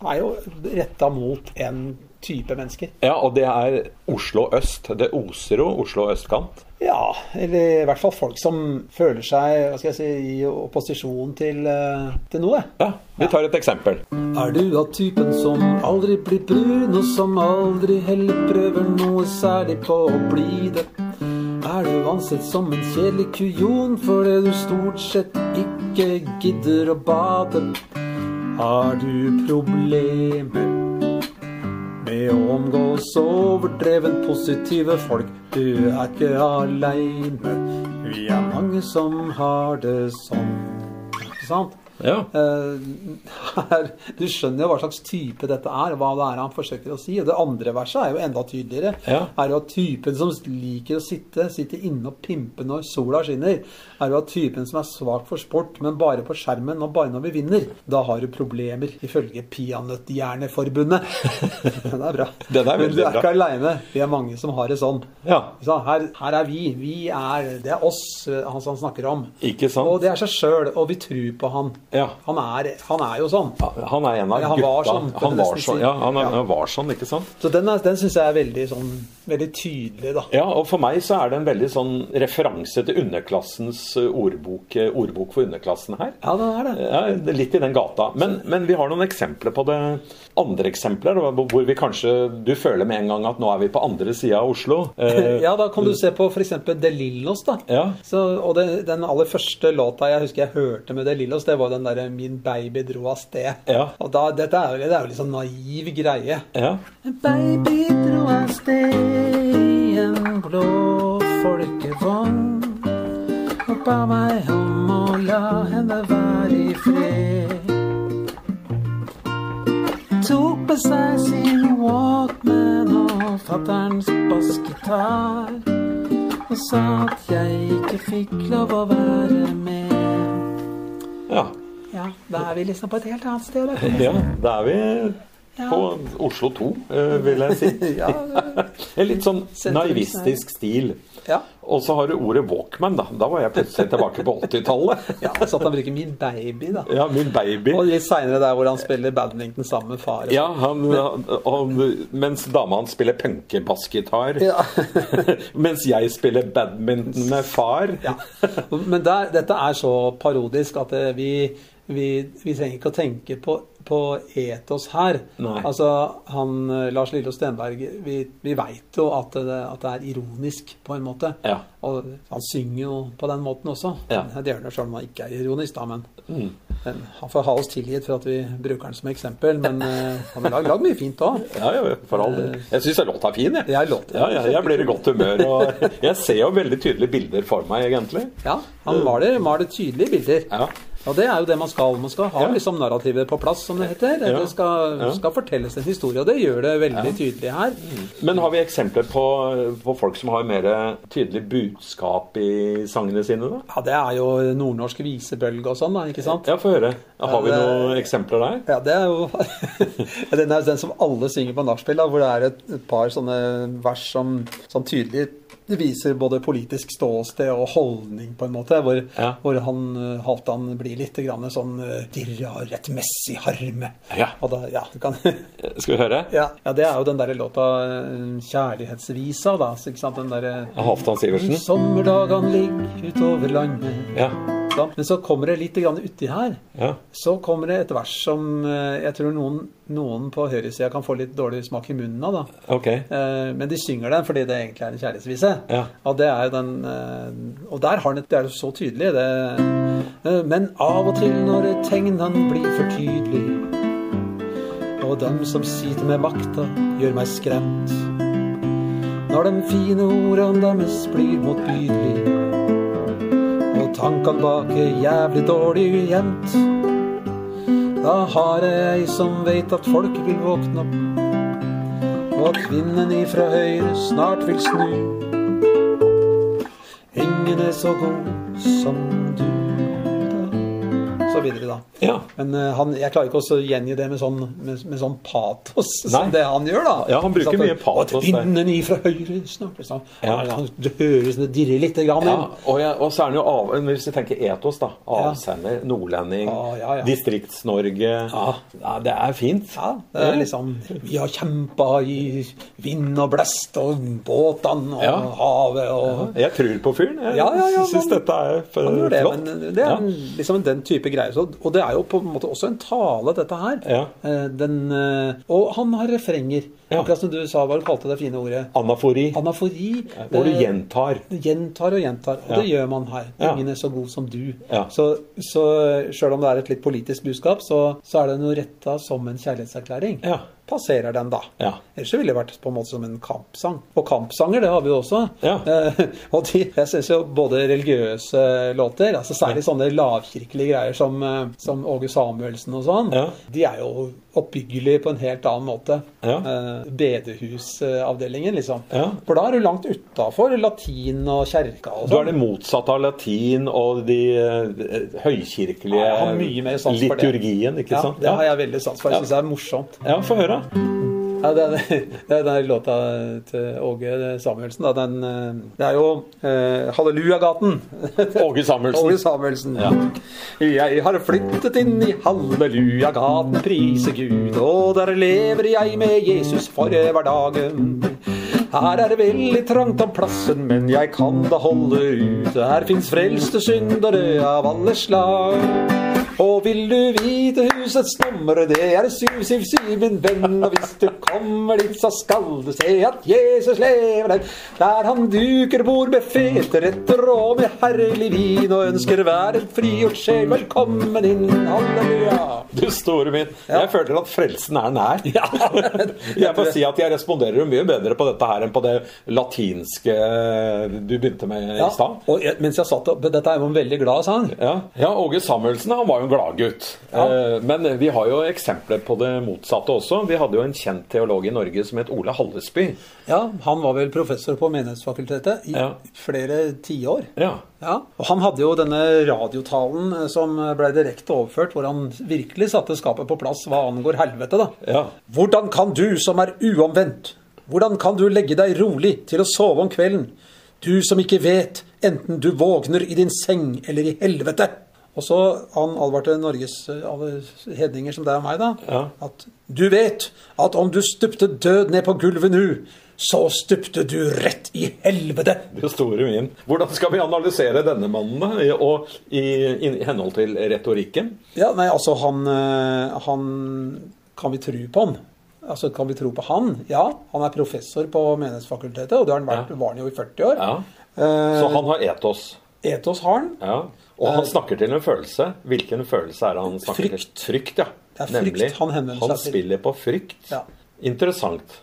[SPEAKER 2] er jo retta mot en type mennesker.
[SPEAKER 3] ja, og det er Oslo øst. Det oser jo Oslo østkant.
[SPEAKER 2] Ja, eller i hvert fall folk som føler seg hva skal jeg si, i opposisjon til, eh, til noe.
[SPEAKER 3] Ja, Vi tar et eksempel.
[SPEAKER 2] Er du av typen som aldri blir brun, og som aldri heller prøver noe særlig på å bli det? Er du ansett som en kjedelig kujon fordi du stort sett ikke gidder å bade? Har du problemer med å omgås overdreven positive folk? Du er ikke aleine, vi er mange som har det sånn. Ikke sant?
[SPEAKER 3] Ja.
[SPEAKER 2] Eh, her, du skjønner jo hva slags type dette er, og hva det er han forsøker å si. Og det andre verset er jo enda tydeligere.
[SPEAKER 3] Ja.
[SPEAKER 2] Er jo at typen som liker å sitte, sitte inne og pimpe når sola skinner, er jo at typen som er svak for sport, men bare på skjermen og bare når vi vinner, da har du problemer, ifølge Peanøtthjerneforbundet. Den er bra.
[SPEAKER 3] Den
[SPEAKER 2] men
[SPEAKER 3] er
[SPEAKER 2] du
[SPEAKER 3] veldig
[SPEAKER 2] er
[SPEAKER 3] bra.
[SPEAKER 2] ikke aleine. Vi er mange som har det sånn.
[SPEAKER 3] Ja.
[SPEAKER 2] Ikke sant? Her, her er vi. Vi er Det er oss eh, han, han snakker om.
[SPEAKER 3] Ikke sant?
[SPEAKER 2] Og det er seg sjøl, og vi tror på han.
[SPEAKER 3] Ja.
[SPEAKER 2] Han, er, han er jo sånn.
[SPEAKER 3] Han er en av
[SPEAKER 2] Eller han var
[SPEAKER 3] gutta.
[SPEAKER 2] sånn, kan
[SPEAKER 3] han
[SPEAKER 2] du
[SPEAKER 3] var
[SPEAKER 2] nesten
[SPEAKER 3] sånn,
[SPEAKER 2] si.
[SPEAKER 3] ja, han, er-
[SPEAKER 2] Ja.
[SPEAKER 3] han var sånn, ikke sant?
[SPEAKER 2] Så den, er- den syns jeg er veldig, sånn, veldig tydelig, da.
[SPEAKER 3] Ja, og for meg så er det en veldig sånn referanse til underklassens eh, ordbok, eh, ordbok for underklassen her.
[SPEAKER 2] Ja, den er det.
[SPEAKER 3] Ja, det er litt i den gata. Men, men vi har noen eksempler på det. Andre eksempler hvor vi kanskje Du føler med en gang at nå er vi på andre sida av Oslo. Eh,
[SPEAKER 2] Ja, da kan du se på f.eks. De Lillos, da.
[SPEAKER 3] Ja.
[SPEAKER 2] Så, og det, den aller første låta jeg husker jeg hørte med De Lillos, det var den derre 'Min baby dro av sted'.
[SPEAKER 3] Ja.
[SPEAKER 2] Og da, dette er jo, det er jo litt sånn naiv greie.
[SPEAKER 3] ja.
[SPEAKER 2] En baby dro av sted i en blå folkevogn. Og ba meg om å la henne være i fred. Tok med seg sin Walkman og fatterns bassgitar. Og sa at jeg ikke fikk lov å være med.
[SPEAKER 3] ja.
[SPEAKER 2] Ja, da er vi liksom på et helt annet sted. Da.
[SPEAKER 3] Ja, da er vi på Oslo 2, eh, vil jeg si.
[SPEAKER 2] Ja,
[SPEAKER 3] En litt sånn
[SPEAKER 2] Sentrumsnære.
[SPEAKER 3] naivistisk stil.
[SPEAKER 2] Ja.
[SPEAKER 3] Og så har du ordet Walkman, da. Da var jeg plutselig tilbake på 80-tallet.
[SPEAKER 2] ja, så at han bruker min baby, da.
[SPEAKER 3] Ja, min baby.
[SPEAKER 2] Og litt seinere der hvor han spiller badminton sammen med far. og
[SPEAKER 3] Ja,
[SPEAKER 2] sånn.
[SPEAKER 3] han, og, mens dama hans spiller punkebassgitar.
[SPEAKER 2] Ja.
[SPEAKER 3] mens jeg spiller badminton med far.
[SPEAKER 2] Ja. Men der, dette er så parodisk at eh, vi, vi, vi trenger ikke å tenke på, på etos her.
[SPEAKER 3] Nei.
[SPEAKER 2] Altså, han eh, Lars Lillo Stenberg, vi, vi veit jo at det, at det er ironisk, på en måte.
[SPEAKER 3] Ja.
[SPEAKER 2] Og han synger jo på den måten også.
[SPEAKER 3] Ja. Mm.
[SPEAKER 2] Det gjør han jo selv om han ikke er ironisk, da, men, men han får ha oss tilgitt for at vi bruker han som eksempel. Men eh, han har lagd- lagd mye fint òg.
[SPEAKER 3] Ja, ja, for all del. Jeg syns låta er fin, jeg.
[SPEAKER 2] Ja, låta er
[SPEAKER 3] ja, ja, jeg blir i godt humør. Og jeg ser jo veldig tydelige bilder for meg, egentlig.
[SPEAKER 2] Ja, han maler, maler tydelige bilder.
[SPEAKER 3] Ja.
[SPEAKER 2] Og det er jo det man skal. Man skal ha
[SPEAKER 3] Ja.
[SPEAKER 2] liksom narrativet på plass, som det heter.
[SPEAKER 3] Ja.
[SPEAKER 2] Det skal,
[SPEAKER 3] Ja. Mm.
[SPEAKER 2] skal fortelles en historie, og det gjør det veldig tydelig her.
[SPEAKER 3] Men har vi eksempler på, på folk som har mer tydelig budskap i sangene sine, da?
[SPEAKER 2] Ja, Det er jo nordnorsk visebølge og sånn, da, ikke sant?
[SPEAKER 3] Ja, få høre. Har vi
[SPEAKER 2] Ja, det-
[SPEAKER 3] noen eksempler der?
[SPEAKER 2] Ja, det er jo Den er jo den som alle synger på nachspiel, da, hvor det er et, et par sånne vers som, som tydelig viser både politisk ståsted og holdning, på en måte. Hvor,
[SPEAKER 3] Ja.
[SPEAKER 2] hvor han eh, Halvdan blir litt grann sånn eh, dirre av rettmessig harme.
[SPEAKER 3] Ja.
[SPEAKER 2] Og da, ja, du kan
[SPEAKER 3] Skal vi høre?
[SPEAKER 2] Ja, ja det er jo den derre låta eh, 'Kjærlighetsvisa', da. så Ikke sant? Den derre
[SPEAKER 3] Halvdan Sivertsen?
[SPEAKER 2] Sommerdagene ligger utover landet.
[SPEAKER 3] Ja.
[SPEAKER 2] Da. Men så kommer det litt grann uti her.
[SPEAKER 3] Ja.
[SPEAKER 2] Så kommer det et vers som eh, jeg tror noen, noen på høyresida kan få litt dårlig smak i munnen av, da.
[SPEAKER 3] Ok.
[SPEAKER 2] Eh, Men de synger den fordi det egentlig er en kjærlighetsvise.
[SPEAKER 3] Ja.
[SPEAKER 2] Og det er jo den eh, Og der har den et Det er jo så tydelig, det eh, Men av og til når tegnene blir for tydelige, og dem som sitter med makta, gjør meg skremt. Når de fine ordene deres blir motbydelige, og tankene bak er jævlig dårlig ujevnt. Da har jeg ei som veit at folk vil våkne opp og at kvinnen ifra høyre snart vil snu. Ingen er så god som du. da. Så videre, da.
[SPEAKER 3] Ja.
[SPEAKER 2] Men eh, han, jeg klarer ikke også å gjengi det med sånn, med, med sånn patos som
[SPEAKER 3] Nei.
[SPEAKER 2] det han gjør, da.
[SPEAKER 3] Ja, han bruker
[SPEAKER 2] Sånn at-
[SPEAKER 3] mye patos,
[SPEAKER 2] Og at kvinnen ifra høyre snart liksom.
[SPEAKER 3] Ja.
[SPEAKER 2] Han- han, Det høres det dirrer litt grann
[SPEAKER 3] Ja,
[SPEAKER 2] inn.
[SPEAKER 3] og, jeg, og så er den jo av, men Hvis vi tenker etos, da. Avsender, nordlending,
[SPEAKER 2] Ja, Ah, ja, ja.
[SPEAKER 3] Distrikts-Norge. Ja. det er fint.
[SPEAKER 2] Ja, det er liksom Vi har kjempa i vind og blest og båtene og
[SPEAKER 3] Ja.
[SPEAKER 2] havet og
[SPEAKER 3] Jeg tror på fyren. Jeg
[SPEAKER 2] Ja, ja, ja,
[SPEAKER 3] syns
[SPEAKER 2] man-
[SPEAKER 3] dette er f-
[SPEAKER 2] Han gjør det,
[SPEAKER 3] flott.
[SPEAKER 2] men det er en-
[SPEAKER 3] ja.
[SPEAKER 2] liksom den type greier. Så, og det er jo på en måte også en tale, dette her.
[SPEAKER 3] Ja.
[SPEAKER 2] Eh, Den, eh, og han har refrenger.
[SPEAKER 3] Ja.
[SPEAKER 2] Akkurat som du sa, hva du kalte det fine ordet.
[SPEAKER 3] Anafori.
[SPEAKER 2] Anafori. eh,
[SPEAKER 3] Hvor du
[SPEAKER 2] det-
[SPEAKER 3] gjentar.
[SPEAKER 2] gjentar og gjentar, og
[SPEAKER 3] Ja.
[SPEAKER 2] det gjør man her.
[SPEAKER 3] Ja.
[SPEAKER 2] Ingen er så god som du.
[SPEAKER 3] Ja.
[SPEAKER 2] Så, så sjøl om det er et litt politisk budskap, så, så er det noe retta som en kjærlighetserklæring.
[SPEAKER 3] Ja.
[SPEAKER 2] Passerer den, da.
[SPEAKER 3] Ja.
[SPEAKER 2] Ellers så ville det vært på en måte som en kampsang. Og kampsanger, det har vi jo også.
[SPEAKER 3] Ja.
[SPEAKER 2] Eh, og de, jeg syns jo både religiøse låter, altså særlig sånne lavkirkelige greier som, eh, som Åge Samuelsen og sånn,
[SPEAKER 3] Ja.
[SPEAKER 2] de er jo oppbyggelige på en helt annen måte.
[SPEAKER 3] Ja.
[SPEAKER 2] Eh, Bedehusavdelingen, liksom.
[SPEAKER 3] Ja.
[SPEAKER 2] For da er du langt utafor latin og kjerka og
[SPEAKER 3] Du er
[SPEAKER 2] sånn.
[SPEAKER 3] det motsatte av latin og de eh, høykirkelige
[SPEAKER 2] Ja, jeg har mye mer sans for det.
[SPEAKER 3] liturgien, ikke
[SPEAKER 2] Ja,
[SPEAKER 3] sant?
[SPEAKER 2] det har jeg veldig sans for.
[SPEAKER 3] Ja.
[SPEAKER 2] Jeg syns det er morsomt.
[SPEAKER 3] Ja, få høre.
[SPEAKER 2] Ja, det, er, det er den låta til Åge Samuelsen. Da. Den, eh, det er jo eh, 'Hallelujagaten'.
[SPEAKER 3] Åge
[SPEAKER 2] Åge
[SPEAKER 3] Samuelsen.
[SPEAKER 2] Samuelsen. Jeg har flyttet inn i Hallelujagaten, prise Gud. Og der lever jeg med Jesus for hverdagen. Her er det veldig trangt om plassen, men jeg kan da holde ut. Her fins frelste syndere av alle slag. Og vil du vite husets nummer, det er 777, min venn. Og hvis du kommer dit, så skal du se at Jesus lever der. Der han duker bord med fete retter og med herlig vin, og ønsker hver en frigjort sjel velkommen inn. Halleluja.
[SPEAKER 3] Du store min. Jeg føler at frelsen er nær. Jeg må si at jeg responderer jo mye bedre på dette her enn på det latinske du begynte med i stad.
[SPEAKER 2] og jeg- mens jeg satt opp, Dette er jo en veldig glad sang.
[SPEAKER 3] Ja. ja, Åge Samuelsen han var jo en gladgutt. Eh, men vi har jo eksempler på det motsatte også. Vi hadde jo en kjent teolog i Norge som het Ole Hallesby.
[SPEAKER 2] Ja, Han var vel professor på Menighetsfakultetet i
[SPEAKER 3] Ja.
[SPEAKER 2] flere tiår.
[SPEAKER 3] Ja.
[SPEAKER 2] Ja, og Han hadde jo denne radiotalen eh, som ble direkte overført, hvor han virkelig satte skapet på plass hva angår helvete. da.
[SPEAKER 3] Ja.
[SPEAKER 2] Hvordan kan du som er uomvendt, hvordan kan du legge deg rolig til å sove om kvelden, du som ikke vet enten du vågner i din seng eller i helvete? Og så han advarte Norges eh, alle hedninger som deg og meg, da,
[SPEAKER 3] Ja.
[SPEAKER 2] at du vet at om du stupte død ned på gulvet nå, så stupte du rett i helvete.
[SPEAKER 3] Det store min. Hvordan skal vi analysere denne mannen da, i, og i, i henhold til retorikken?
[SPEAKER 2] Ja, nei, altså han, eh, han Kan vi tro på han? Altså, Kan vi tro på han? Ja, han er professor på Menighetsfakultetet, og det har han vært,
[SPEAKER 3] Ja.
[SPEAKER 2] var han jo i 40 år.
[SPEAKER 3] Ja.
[SPEAKER 2] Eh,
[SPEAKER 3] Så han har etos.
[SPEAKER 2] Etos har han.
[SPEAKER 3] Ja. Og han snakker til en følelse. Hvilken følelse er det han snakker
[SPEAKER 2] Eh, Frykt.
[SPEAKER 3] til? Frykt, ja.
[SPEAKER 2] Det er frykt han henvender seg til.
[SPEAKER 3] spiller på frykt.
[SPEAKER 2] Ja. Mm.
[SPEAKER 3] Interessant.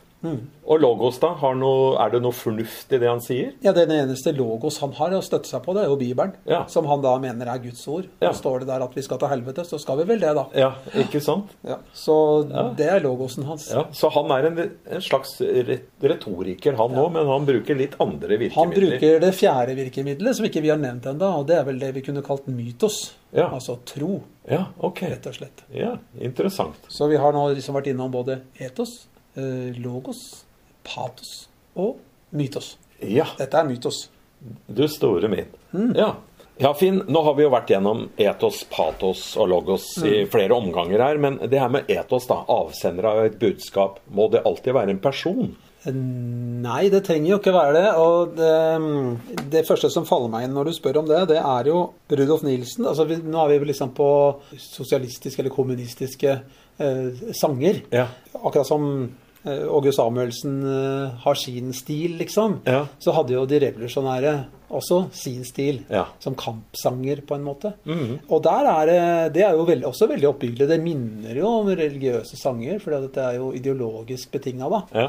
[SPEAKER 3] Og Logos, da? Har noe, er det noe fornuft i det han sier?
[SPEAKER 2] Ja, Den eneste logos han har å støtte seg på, det er jo Bibelen.
[SPEAKER 3] Ja.
[SPEAKER 2] Som han da mener er Guds ord.
[SPEAKER 3] Ja.
[SPEAKER 2] Og Står det der at vi skal til helvete, så skal vi vel det, da.
[SPEAKER 3] Ja, ikke sant?
[SPEAKER 2] Ja. Så det er logosen hans.
[SPEAKER 3] Ja, så han er en, en slags ret- retoriker, han òg, men han bruker litt andre virkemidler.
[SPEAKER 2] Han bruker det fjerde virkemidlet, som ikke vi har nevnt ennå, og det er vel det vi kunne kalt mytos.
[SPEAKER 3] Ja.
[SPEAKER 2] Altså tro,
[SPEAKER 3] Ja, ok.
[SPEAKER 2] rett og slett.
[SPEAKER 3] Ja, Interessant.
[SPEAKER 2] Så vi har nå liksom vært innom både etos, eh, logos, patos og mytos.
[SPEAKER 3] Ja,
[SPEAKER 2] Dette er mytos.
[SPEAKER 3] du store min.
[SPEAKER 2] Mm.
[SPEAKER 3] Ja. ja, Finn, nå har vi jo vært gjennom etos, patos og logos i
[SPEAKER 2] Mm.
[SPEAKER 3] flere omganger her, men det her med etos, da, avsender av et budskap, må det alltid være en person?
[SPEAKER 2] Nei, det trenger jo ikke være det. Og det, det første som faller meg inn når du spør om det, det er jo Rudolf Nielsen. Altså, vi, nå er vi vel liksom på sosialistiske eller kommunistiske eh, sanger.
[SPEAKER 3] Ja.
[SPEAKER 2] Akkurat som eh, Åge Samuelsen eh, har sin stil, liksom.
[SPEAKER 3] Ja.
[SPEAKER 2] Så hadde jo de revolusjonære også sin stil,
[SPEAKER 3] Ja. Mhm.
[SPEAKER 2] som kampsanger, på en måte. Og der er eh, det Det er jo veld, også veldig oppbyggelig. Det minner jo om religiøse sanger, for dette er jo ideologisk betinga, da.
[SPEAKER 3] Ja.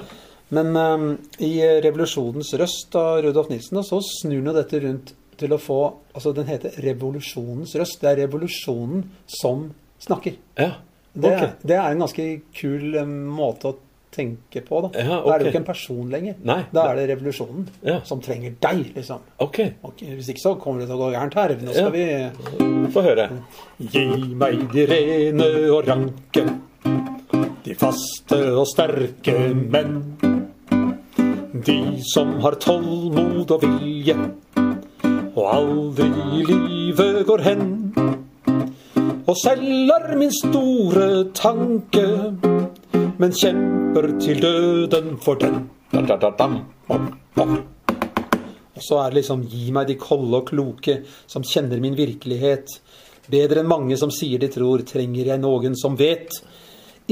[SPEAKER 2] Men ehm, i Revolusjonens røst av Rudolf Nilsen, da, så snur nå dette rundt til å få Altså, den heter Revolusjonens røst. Det er revolusjonen som snakker.
[SPEAKER 3] Ja.
[SPEAKER 2] Det,
[SPEAKER 3] ok.
[SPEAKER 2] er- det er en ganske kul eh, måte å tenke på, da.
[SPEAKER 3] Ja,
[SPEAKER 2] Da er det
[SPEAKER 3] ok.
[SPEAKER 2] jo ikke en person lenger.
[SPEAKER 3] Nei.
[SPEAKER 2] Da er det revolusjonen
[SPEAKER 3] Ja.
[SPEAKER 2] som trenger deg, liksom.
[SPEAKER 3] Ok,
[SPEAKER 2] Ok, hvis ikke så kommer det til å gå gærent her. Nå
[SPEAKER 3] Ja.
[SPEAKER 2] skal vi
[SPEAKER 3] få høre.
[SPEAKER 2] Mm. Gi meg de rene og ranke, de faste og sterke menn. De som har tålmod og vilje, og aldri i livet går hen. Og selv er min store tanke, men kjemper til døden for den.
[SPEAKER 3] Da, da, da, dam.
[SPEAKER 2] Og så er det liksom Gi meg de kolde og kloke som kjenner min virkelighet. Bedre enn mange som sier de tror, trenger jeg noen som vet.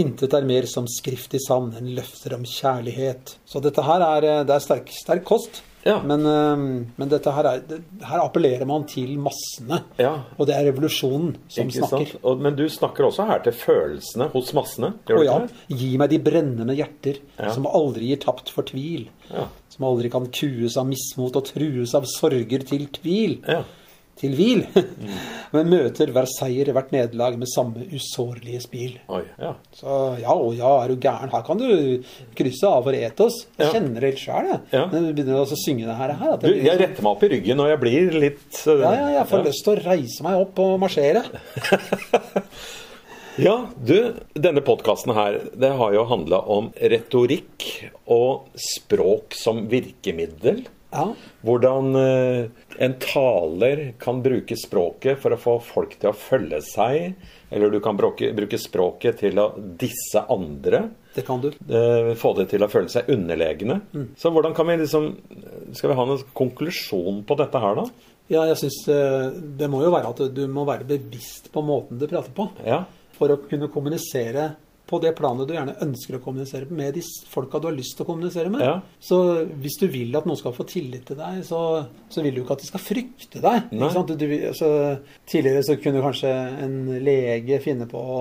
[SPEAKER 2] Intet er mer som skrift i sand enn løfter om kjærlighet. Så dette her er, eh, det er sterk, sterk kost.
[SPEAKER 3] Ja.
[SPEAKER 2] Men, eh, men dette her, er, det, her appellerer man til massene.
[SPEAKER 3] Ja.
[SPEAKER 2] Og det er revolusjonen som
[SPEAKER 3] Ikke
[SPEAKER 2] snakker.
[SPEAKER 3] sant? Og, men du snakker også her til følelsene hos massene. Gjør
[SPEAKER 2] Å
[SPEAKER 3] du
[SPEAKER 2] ja,
[SPEAKER 3] ikke det?
[SPEAKER 2] gi meg de brennende hjerter
[SPEAKER 3] Ja.
[SPEAKER 2] som aldri gir tapt for tvil.
[SPEAKER 3] Ja.
[SPEAKER 2] Som aldri kan kues av mismot og trues av sorger til tvil.
[SPEAKER 3] Ja. Mm.
[SPEAKER 2] Til hvil. Men møter hver seier, hvert nederlag med samme usårlige spil.
[SPEAKER 3] Oi, ja.
[SPEAKER 2] Så ja og ja, er du gæren. Her kan du krysse av for etos. Jeg
[SPEAKER 3] Ja.
[SPEAKER 2] kjenner det helt sjøl, jeg.
[SPEAKER 3] Ja.
[SPEAKER 2] Når du begynner å synge det her. at
[SPEAKER 3] Du,
[SPEAKER 2] jeg blir
[SPEAKER 3] jeg
[SPEAKER 2] liksom-
[SPEAKER 3] retter meg opp i ryggen, og jeg blir litt eh,
[SPEAKER 2] ja, ja, jeg får
[SPEAKER 3] ja.
[SPEAKER 2] lyst til å reise meg opp og marsjere.
[SPEAKER 3] Ja, du, denne podkasten her, det har jo handla om retorikk og språk som virkemiddel.
[SPEAKER 2] Ja.
[SPEAKER 3] Hvordan eh, en taler kan bruke språket for å få folk til å følge seg. Eller du kan bruke, bruke språket til å disse andre.
[SPEAKER 2] Det kan du.
[SPEAKER 3] Eh, få det til å føle seg underlegne. Så hvordan kan vi liksom Skal vi ha noen konklusjon på dette her, da?
[SPEAKER 2] Ja, jeg synes eh, det må jo være at du må være bevisst på måten du prater på.
[SPEAKER 3] Ja.
[SPEAKER 2] For å kunne kommunisere på det planet du gjerne ønsker å kommunisere med de s- folka du har lyst til å kommunisere med.
[SPEAKER 3] Ja.
[SPEAKER 2] Så hvis du vil at noen skal få tillit til deg, så, så vil du ikke at de skal frykte deg.
[SPEAKER 3] Nei.
[SPEAKER 2] Ikke sant? Du, du, altså, tidligere så kunne kanskje en lege finne på å,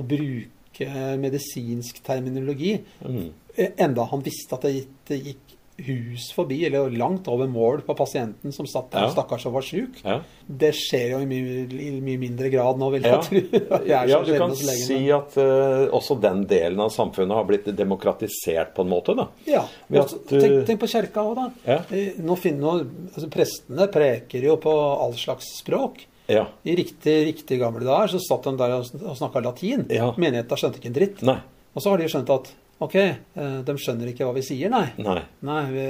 [SPEAKER 2] å bruke medisinsk terminologi,
[SPEAKER 3] Mm.
[SPEAKER 2] eh, enda han visste at det gikk, det gikk hus forbi, eller langt over mål på pasienten som satt der,
[SPEAKER 3] Ja.
[SPEAKER 2] stakkars og var syk.
[SPEAKER 3] Ja.
[SPEAKER 2] Det skjer jo i mye, i mye mindre grad nå, vil jeg
[SPEAKER 3] Ja.
[SPEAKER 2] tro. Jeg er så
[SPEAKER 3] ja, du
[SPEAKER 2] sjelden
[SPEAKER 3] kan
[SPEAKER 2] hos legen,
[SPEAKER 3] si
[SPEAKER 2] men-
[SPEAKER 3] at eh, også den delen av samfunnet har blitt demokratisert på en måte, da.
[SPEAKER 2] Ja.
[SPEAKER 3] Ved
[SPEAKER 2] og
[SPEAKER 3] at du-
[SPEAKER 2] tenk, tenk på kjerka òg, da.
[SPEAKER 3] Ja.
[SPEAKER 2] Eh, Nå finner, nå, altså, prestene preker jo på all slags språk.
[SPEAKER 3] Ja.
[SPEAKER 2] I riktig, riktig gamle dager så satt de der og sn- og snakka latin.
[SPEAKER 3] Ja.
[SPEAKER 2] Menigheta skjønte ikke en dritt.
[SPEAKER 3] Nei.
[SPEAKER 2] Og så har de jo skjønt at OK, eh, de skjønner ikke hva vi sier, nei.
[SPEAKER 3] Nei.
[SPEAKER 2] vi,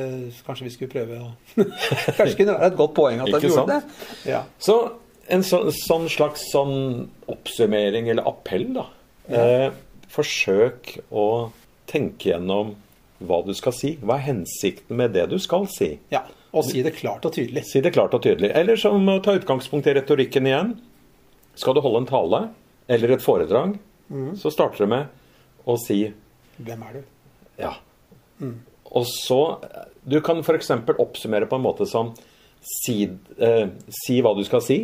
[SPEAKER 2] kanskje vi skulle prøve å Kanskje kunne det være et godt poeng at
[SPEAKER 3] Ikke
[SPEAKER 2] de gjorde
[SPEAKER 3] sant?
[SPEAKER 2] det. Ja.
[SPEAKER 3] Så en så, sånn slags sånn oppsummering eller appell, da. Eh, forsøk å tenke gjennom hva du skal si. Hva er hensikten med det du skal si?
[SPEAKER 2] ja. Og si det klart og tydelig.
[SPEAKER 3] Si det klart og tydelig. Eller som å ta utgangspunkt i retorikken igjen. Skal du holde en tale eller et foredrag,
[SPEAKER 2] Mm.
[SPEAKER 3] så starter du med å si
[SPEAKER 2] Hvem er du?
[SPEAKER 3] ja. Og så Du kan f.eks. oppsummere på en måte som si, eh, si hva du skal si.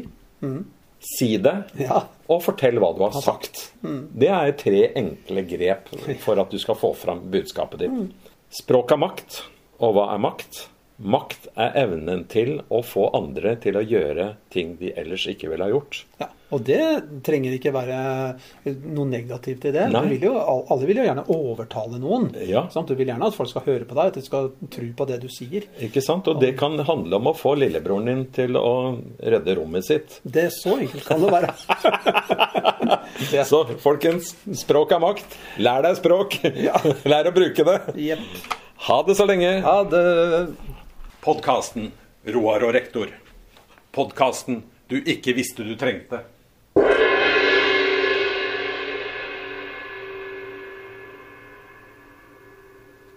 [SPEAKER 3] Si det.
[SPEAKER 2] Ja.
[SPEAKER 3] Og fortell hva du har sagt. Det er tre enkle grep for at du skal få fram budskapet ditt. Språk er makt. Og hva er makt? Makt er evnen til å få andre til å gjøre ting de ellers ikke ville ha gjort.
[SPEAKER 2] Ja, Og det trenger ikke være noe negativt i det.
[SPEAKER 3] Nei.
[SPEAKER 2] Du vil jo, al- alle vil jo gjerne overtale noen.
[SPEAKER 3] Ja.
[SPEAKER 2] Sant? Du vil gjerne at folk skal høre på deg, at de skal tro på det du sier.
[SPEAKER 3] Ikke sant? Og det kan handle om å få lillebroren din til å redde rommet sitt.
[SPEAKER 2] Det er så enkelt kan det være. det.
[SPEAKER 3] Så folkens, språk er makt. Lær deg språk. Lær å bruke det.
[SPEAKER 2] Jepp.
[SPEAKER 3] Ha det så lenge.
[SPEAKER 2] Ja, det
[SPEAKER 7] Podkasten Roar og rektor. Podkasten du ikke visste du trengte.